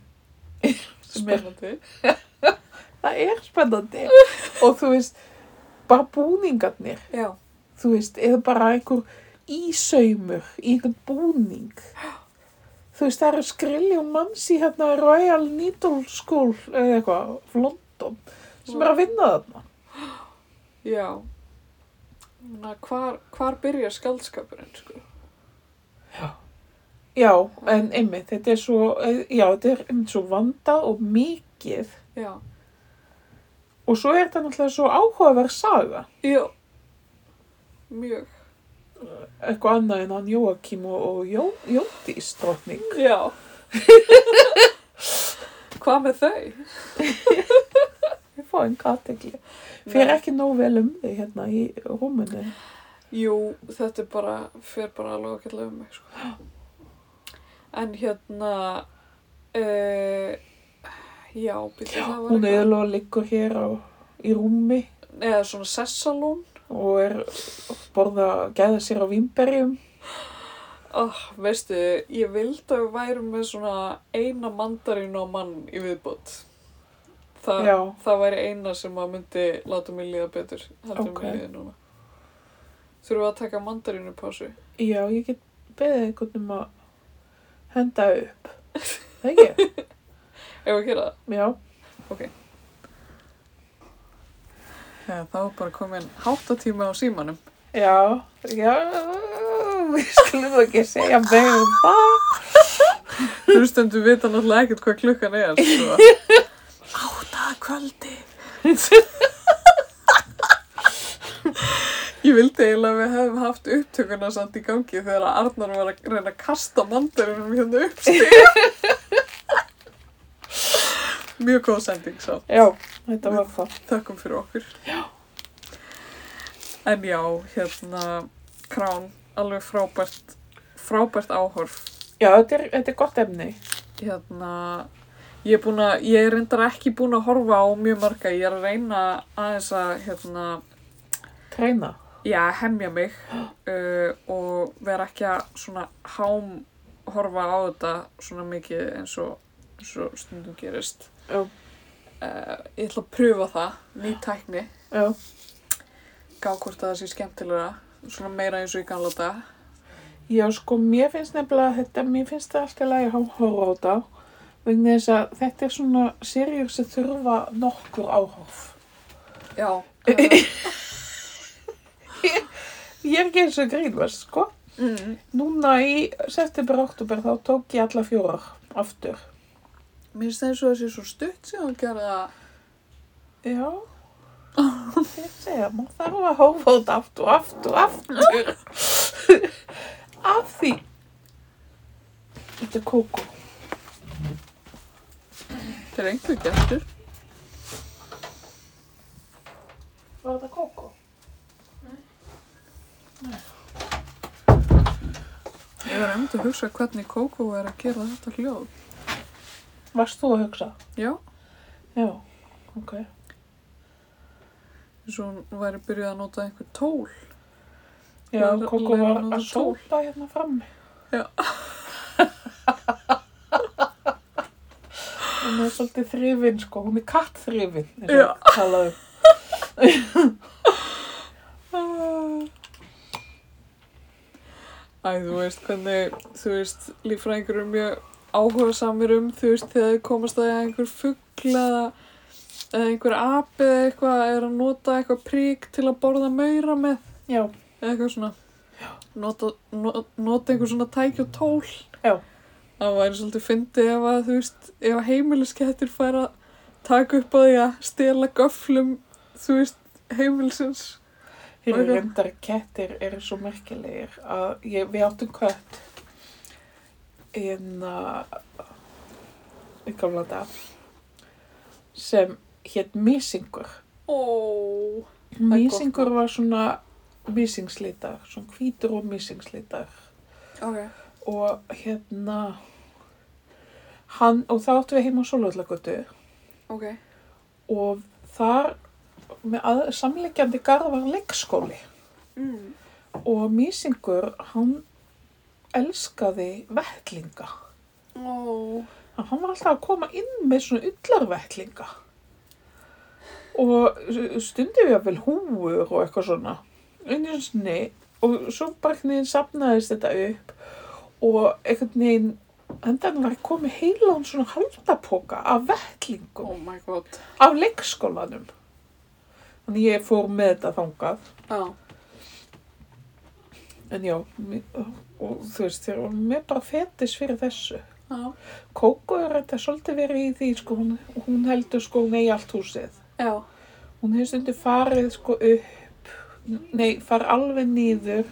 S1: spennandi.
S2: Það er spennandi. Og þú veist, bara búningarnir.
S1: Já,
S2: þú veist, eða bara einhver ísaumur í einhvern búning. Þú veist, það eru skrilljum manns í hérna Royal Needle School eða eitthvað, London, sem er að vinna þarna.
S1: já. Þannig að hvar, hvar byrjar skaldskapurinn, sko?
S2: Já, en einmitt, þetta er svo, eh, já, þetta er einmitt svo vanda og mikið
S1: Já.
S2: og svo er þetta náttúrulega svo áhugaverð saga.
S1: Já. Mjög.
S2: Eitthvað annað en hann Jóakim og, og Jó, Jódís drotning.
S1: Já. Hvað með þau?
S2: Ég fá einn kategli. Fyrir ekki nóg vel um þig hérna í rúminu.
S1: Jú, þetta er bara, fer bara alveg ágætlega um mig, sko. En hérna, uh, já, byrja það var
S2: Hún auðvitað liggur hér á, í rúmi
S1: Eða svona sessalón.
S2: og er borða gæða sér á vínberjum.
S1: Oh, veistu, ég vildi að við værum með svona eina mandarín á mann í viðbót. Þa,
S2: Já,
S1: Það væri eina sem að myndi láta mig líða betur, heldur
S2: Ok.
S1: okay. mig líði núna. Þurfum við að taka mandarínu pásu?
S2: já, ég get beðið einhvern um að henda upp. Það ekki?
S1: Ef við gera það?
S2: Já.
S1: Já, þá er bara komin háttatíma á símanum.
S2: Já, já, við skulum ekki segja meira um það.
S1: Hlustendur vita náttúrulega ekkert hvað klukkan er, sko. Átta að kvöldi. Ég vildi eiginlega að við hefum haft upptökuna samt í gangi þegar að Arnar var að reyna að kasta mandarinum hérna upp stíð. Mjög góð sending samt.
S2: Já, þetta var það.
S1: Þökkum fyrir okkur. Já. En já, hérna, krán, alveg frábært, frábært áhorf.
S2: Já, þetta er, þetta er gott efni.
S1: Hérna, ég er búin að, ég er reyndar ekki búin að horfa á mjög marga. Ég er að reyna aðeins að, hérna,
S2: Treina.
S1: já, hemja mig uh, og vera ekki að svona hám horfa á þetta svona mikið eins og, eins og stundum gerist.
S2: Já.
S1: Uh, ég ætla að pröfa það, ný tækni.
S2: Já,
S1: gá hvort að það sé skemmtilega, svona meira eins og í gamla dag.
S2: já, sko, mér finnst nefnilega þetta, mér finnst það alltaf lægi að horfa á þetta. Vegna þess að þetta er svona serjur sem þurfa nokkur áhorf.
S1: Já. Uh,
S2: Ég er ekki eins og grínvast, sko.
S1: mm,
S2: Núna í september og oktober þá tók ég alla fjórar aftur.
S1: mér finnst það eins og það sé svo stutt sem hún gerði það.
S2: Já. Ég segja, maður þarf að hófa út aftur, aftur, aftur. Af því. Þetta er kókó.
S1: Það er einhver gestur.
S2: Var þetta kókó?
S1: Ég var einmitt að hugsa hvernig Kókó er að gera þetta hljóð.
S2: Varst þú að hugsa?
S1: Já.
S2: Já. Ok.
S1: Eins og hún væri byrjuð að nota einhver tól.
S2: Já,
S1: Læra-
S2: kókó
S1: læra
S2: var
S1: að nota
S2: að
S1: tól.
S2: sópa hérna frammi.
S1: Já.
S2: Hún er svolítið þrifin, sko. Hún er katt þrifin.
S1: Já.
S2: Talaðu.
S1: Æ, þú veist hvernig, þú veist, líffræðingur eru mjög áhuga samir um, þú veist, þegar þið komast að því að einhver fugl eða eða einhver api eða eitthvað er að nota eitthvað prík til að borða maura með
S2: Já.
S1: eða eitthvað svona nota, no- nota einhver svona tæki og tól
S2: Já.
S1: það væri svolítið fyndið ef að þú veist ef að heimiliskeittir færa taka upp á því að stela göflum þú veist heimilisins
S2: Þeir
S1: Og
S2: eru
S1: eitthvað.
S2: reyndar kettir eru svo merkilegir að ég, við áttum kött en að í gamla dag sem hétt Mísingur.
S1: Ó, er gott
S2: Mísingur var svona mísingslitar, svona hvítur og mísingslitar
S1: Ok.
S2: og hérna hann, og þá áttum við heima á Sólvallagötu
S1: Ok.
S2: og þar með að, samleikjandi garð var leikskóli
S1: Mm.
S2: og mísingur hann elskaði vettlinga
S1: Ó.
S2: Þannig að hann var alltaf að koma inn með svona ullarvettlinga og stundum við að vel húur og eitthvað svona einu sinni og svo bara einhvern veginn safnaðist þetta upp og einhvern veginn endan var komið heilan svona haldapoka af
S1: Oh
S2: vettlingum
S1: my god.
S2: af leikskólanum þannig ég fór með þetta þangað
S1: Já.
S2: en já, mi- og þú veist þér var mér bara fetis fyrir þessu
S1: Já.
S2: Kókó er þetta svolítið verið í því, sko, hún, hún heldur sko hún eigi allt húsið.
S1: Já.
S2: Hún hefur stundið farið sko upp, nei, farið alveg niður,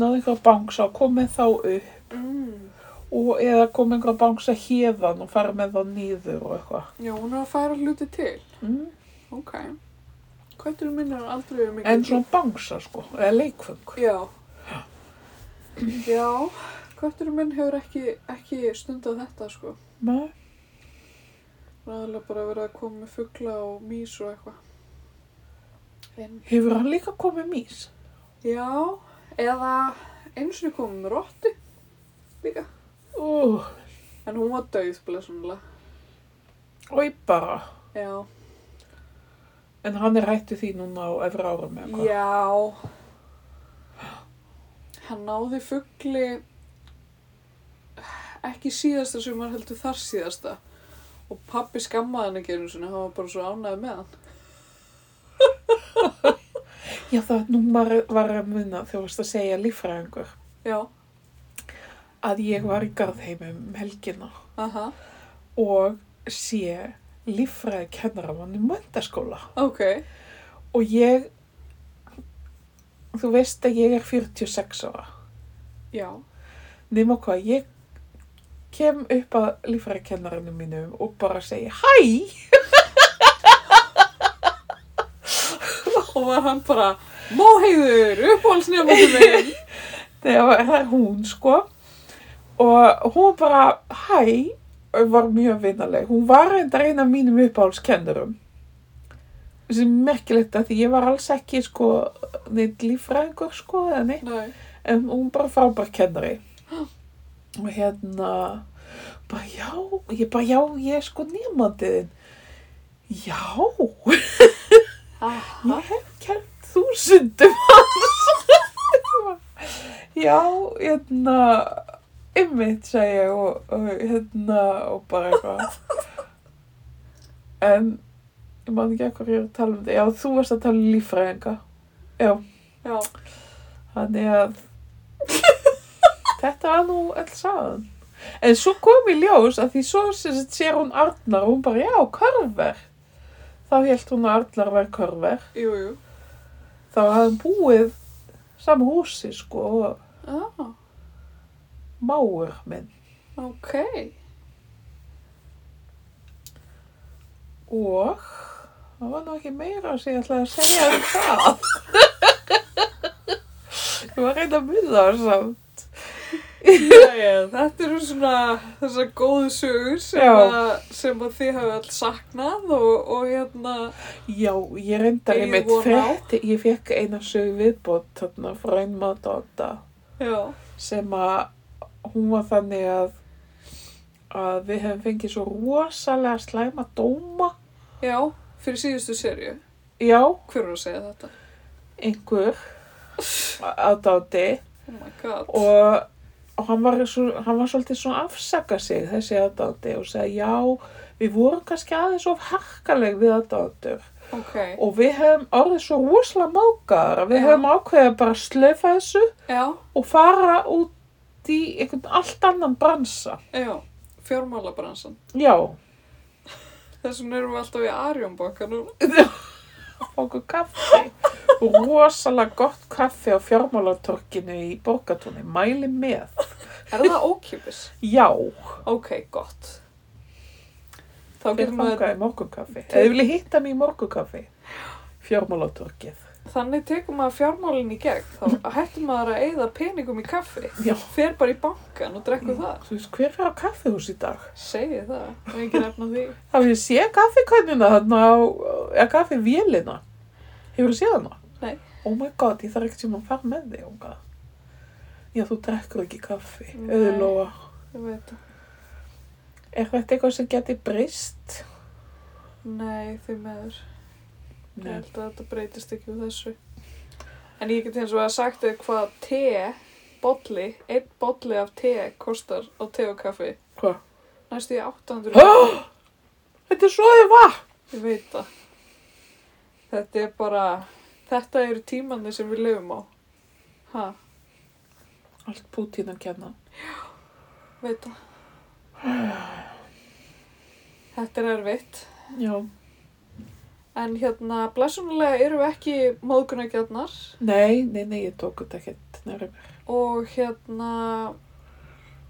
S2: náðu einhverja bangsa og komið þá upp
S1: Mm.
S2: og eða komið einhverja bangsa hérðan og farið með þá niður og eitthvað.
S1: Já, hún er að færa hluti til.
S2: Mm.
S1: Ok. Hvað er þú minnir aldrei um mikið?
S2: En svona bangsa sko, eða leikfung.
S1: Já. Já, kötturinn minn hefur ekki, ekki stundað þetta, sko.
S2: Nei,
S1: Það er alveg bara verið að koma með fugla og mís og eitthvað. En,
S2: hefur hann líka komið mís?
S1: já, eða eins og komið með rotti líka.
S2: Ú,
S1: En hún var dauð, blessunlega.
S2: oi bara.
S1: Já,
S2: En hann er hættu því núna á efra árum eða hvað?
S1: já. Hann náði fugli ekki síðasta sem hann heldur þar síðasta. Og pabbi skammaði hann ekki einu sinni, hann var bara svo ánæði með hann.
S2: Já, það nú var, var að muna þegar þú varst að segja líffræðingur.
S1: Já,
S2: að ég var í garðheimum um helgina
S1: aha,
S2: og sé líffræði kennaramann í möndaskóla
S1: ok,
S2: og ég þú veist að ég er 46 ára
S1: já,
S2: nema hvað ég kem upp að líffræði kennarinu mínum og bara segi hæ
S1: og var hann bara, móheiður, uppáhaldsnefnum minn,
S2: þegar það er hún sko og hún bara hæ og var mjög vinaleg hún var reyndar eina af mínum uppáhaldskennurum sem er merkilegt að því ég var alls ekki sko neitt líffræðingur sko eða neitt
S1: nei,
S2: en hún bara frábær kennari og hérna bara já, ég bara já ég er sko nýmandiðin já,
S1: aha,
S2: ég hef kent þúsundum hans já, hérna ymmit segi ég og, og hérna og bara eitthvað en ég man ekki eitthvað ég er að tala um þetta já, þú varst að tala um líffræðinga
S1: já,
S2: Þannig að þetta var nú alls aðan. En svo kom í ljós að því svo sem sagt sér hún Arnar og hún bara, já, körver. Þá held hún að Arnar var körver.
S1: jú, jú,
S2: Þá hafði hann búið saman húsi, sko, og
S1: ah,
S2: máur minn.
S1: ok,
S2: Og það var nú ekki meira sem ég ætlaði að segja um það. Ég var að reyna að mynda það samt.
S1: Jæja, þetta eru svona þessar góðu sögur sem,
S2: Já.
S1: að, sem að þið hafa alls saknað og, og hérna,
S2: Já, ég reyndar
S1: Eigið
S2: einmitt
S1: von á?
S2: frétti, ég fekk eina sögu viðbót þarna frá einmáta
S1: já,
S2: sem að hún var þannig að að við hefum fengið svo rosalega slæma dóma
S1: já, fyrir síðustu serju,
S2: já,
S1: hver var að segja þetta?
S2: einhver aðdátti
S1: Oh my god,
S2: og, og hann, var svo, hann var svolítið svona að afsaka sig þessi aðdátti og segja já, við vorum kannski aðeins of harkaleg við aðdáttur
S1: ok,
S2: og við hefum orðið svo rosalega mókar að við
S1: Já.
S2: hefum ákveðið að bara slöfa þessu
S1: já,
S2: og fara út í einhvern allt annan bransa.
S1: já, fjármálabransan,
S2: Já,
S1: þessum erum við alltaf í Arjónbakka núna.
S2: okkur kaffi. Rosalega gott kaffi á fjármálatorkinu í Borgatúni. Mæli með.
S1: Er það ókipis?
S2: Já,
S1: Ok, gott. Þá
S2: við
S1: getur maður,
S2: fangaði morgunkaffi. Eða þið viljið hitta mig í morgunkaffi. Fjármálatorkið.
S1: þannig tekur maður fjármálinn í gegn þá hættum maður að eyða peningum í kaffi
S2: Já.
S1: fer bara í bankan og drekku það
S2: Þú veist, hver er á kaffihús í dag?
S1: segi það, það er ekki nefna því
S2: Það við sé kaffikannina þarna á, eða kaffivélina. Hefur þú séð hana?
S1: Nei.
S2: Oh my god, ég þarf ekkert sem að fara með þig, unga. Já, þú drekkur ekki kaffi,
S1: Nei.
S2: auðlóa.
S1: ég veit það.
S2: Er þetta eitthvað sem geti breyst?
S1: nei, því meður ég held að þetta breytist ekki úr þessu en ég get eins og að sagt þau hvað te bolli, einn bolli af te kostar á te og kaffi
S2: Hvað?
S1: næstu í 800
S2: Oh! Þetta er svoðið vatn!
S1: Ég veit það. Þetta er bara, þetta eru tímanni sem við lifum á. Ha,
S2: Allt Pútín að kenna.
S1: veit það. Þetta er erfitt.
S2: Já.
S1: En hérna, blessunulega eru við ekki móðgunargjarnar
S2: Nei, nei, nei, ég tók þetta ekkert nærið mér.
S1: og hérna,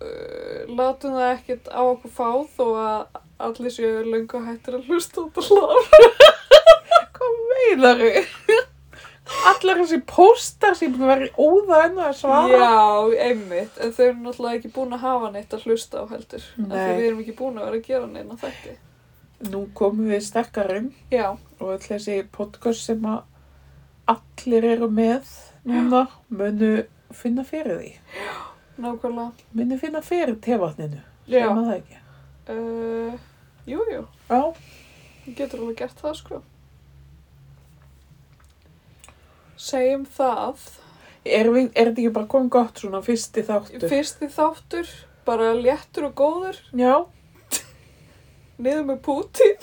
S1: uh, látum það ekkert á okkur fá þó að allir séu löngu hættir að hlusta út að hlá.
S2: Hvað meinar þau? Allar þessi póstar sem ég búin að vera í óða enn að svara.
S1: Já, einmitt. En þau eru náttúrulega ekki búin að hafa neitt að hlusta á heldur. Af því
S2: Nei.
S1: Við erum ekki búin að vera að gera neina þætti.
S2: Nú komum við sterkarinn
S1: Já.
S2: og öll þessi podcast sem að allir eru með núna munu finna fyrir því.
S1: Nákvæmlega.
S2: Munu finna fyrir tevatninu.
S1: Já.
S2: Sem að það ekki.
S1: Uh, jú, jú,
S2: Já.
S1: þú getur alveg gert það sko. Segjum það.
S2: Er, við, er þetta ekki bara komið gott svona fyrsti þáttur?
S1: Fyrsti þáttur, bara léttur og góður,
S2: Já,
S1: niður með Putin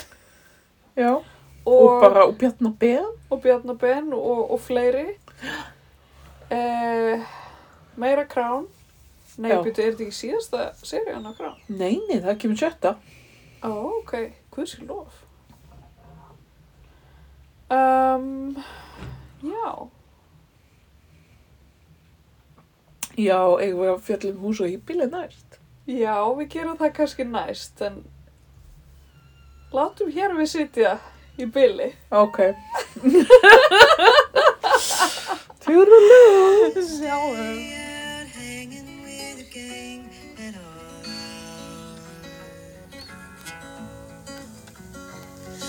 S2: já. Og,
S1: og,
S2: bara og bjarna beðan.
S1: og Bjarnar Ben og, og fleiri. Uh, meira krán. Nei,
S2: Já.
S1: býttu, er þetta ekki síðasta serían á krán?
S2: Nei, nei, það kemur sjötta.
S1: Ó, ok, hvað sé lof? Um, já,
S2: Já, eigum við að fjalla um hús og hýbíli næst.
S1: Já, við gerum það kannski næst, en látum hér við sitja í byli.
S2: Ok. Tjúrulú. Sjáum.
S1: eh,
S3: out hanging with the gang and all.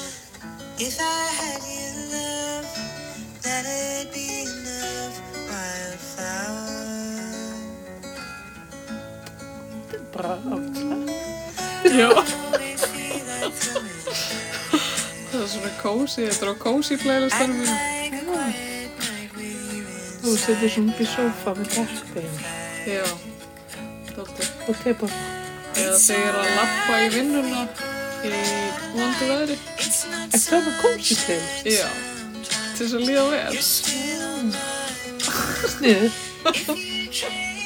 S3: If I had your love, that'd be enough wildflower.
S2: Bara aftur. Já.
S3: Always see that coming.
S1: Það er svona kósi, þetta er á kósi playlistanum mínum.
S3: Like a quiet night with you
S2: Þú
S3: inside.
S2: setur svona upp í sófa með terpin
S1: Já, dálítið.
S2: og tepa.
S1: Eða þegar ég er að lappa í vinnuna í vondu veðri.
S3: It's not
S2: En það var kósi til.
S1: Já, til þess að líða vel.
S3: still
S2: Sniður.
S3: if you change.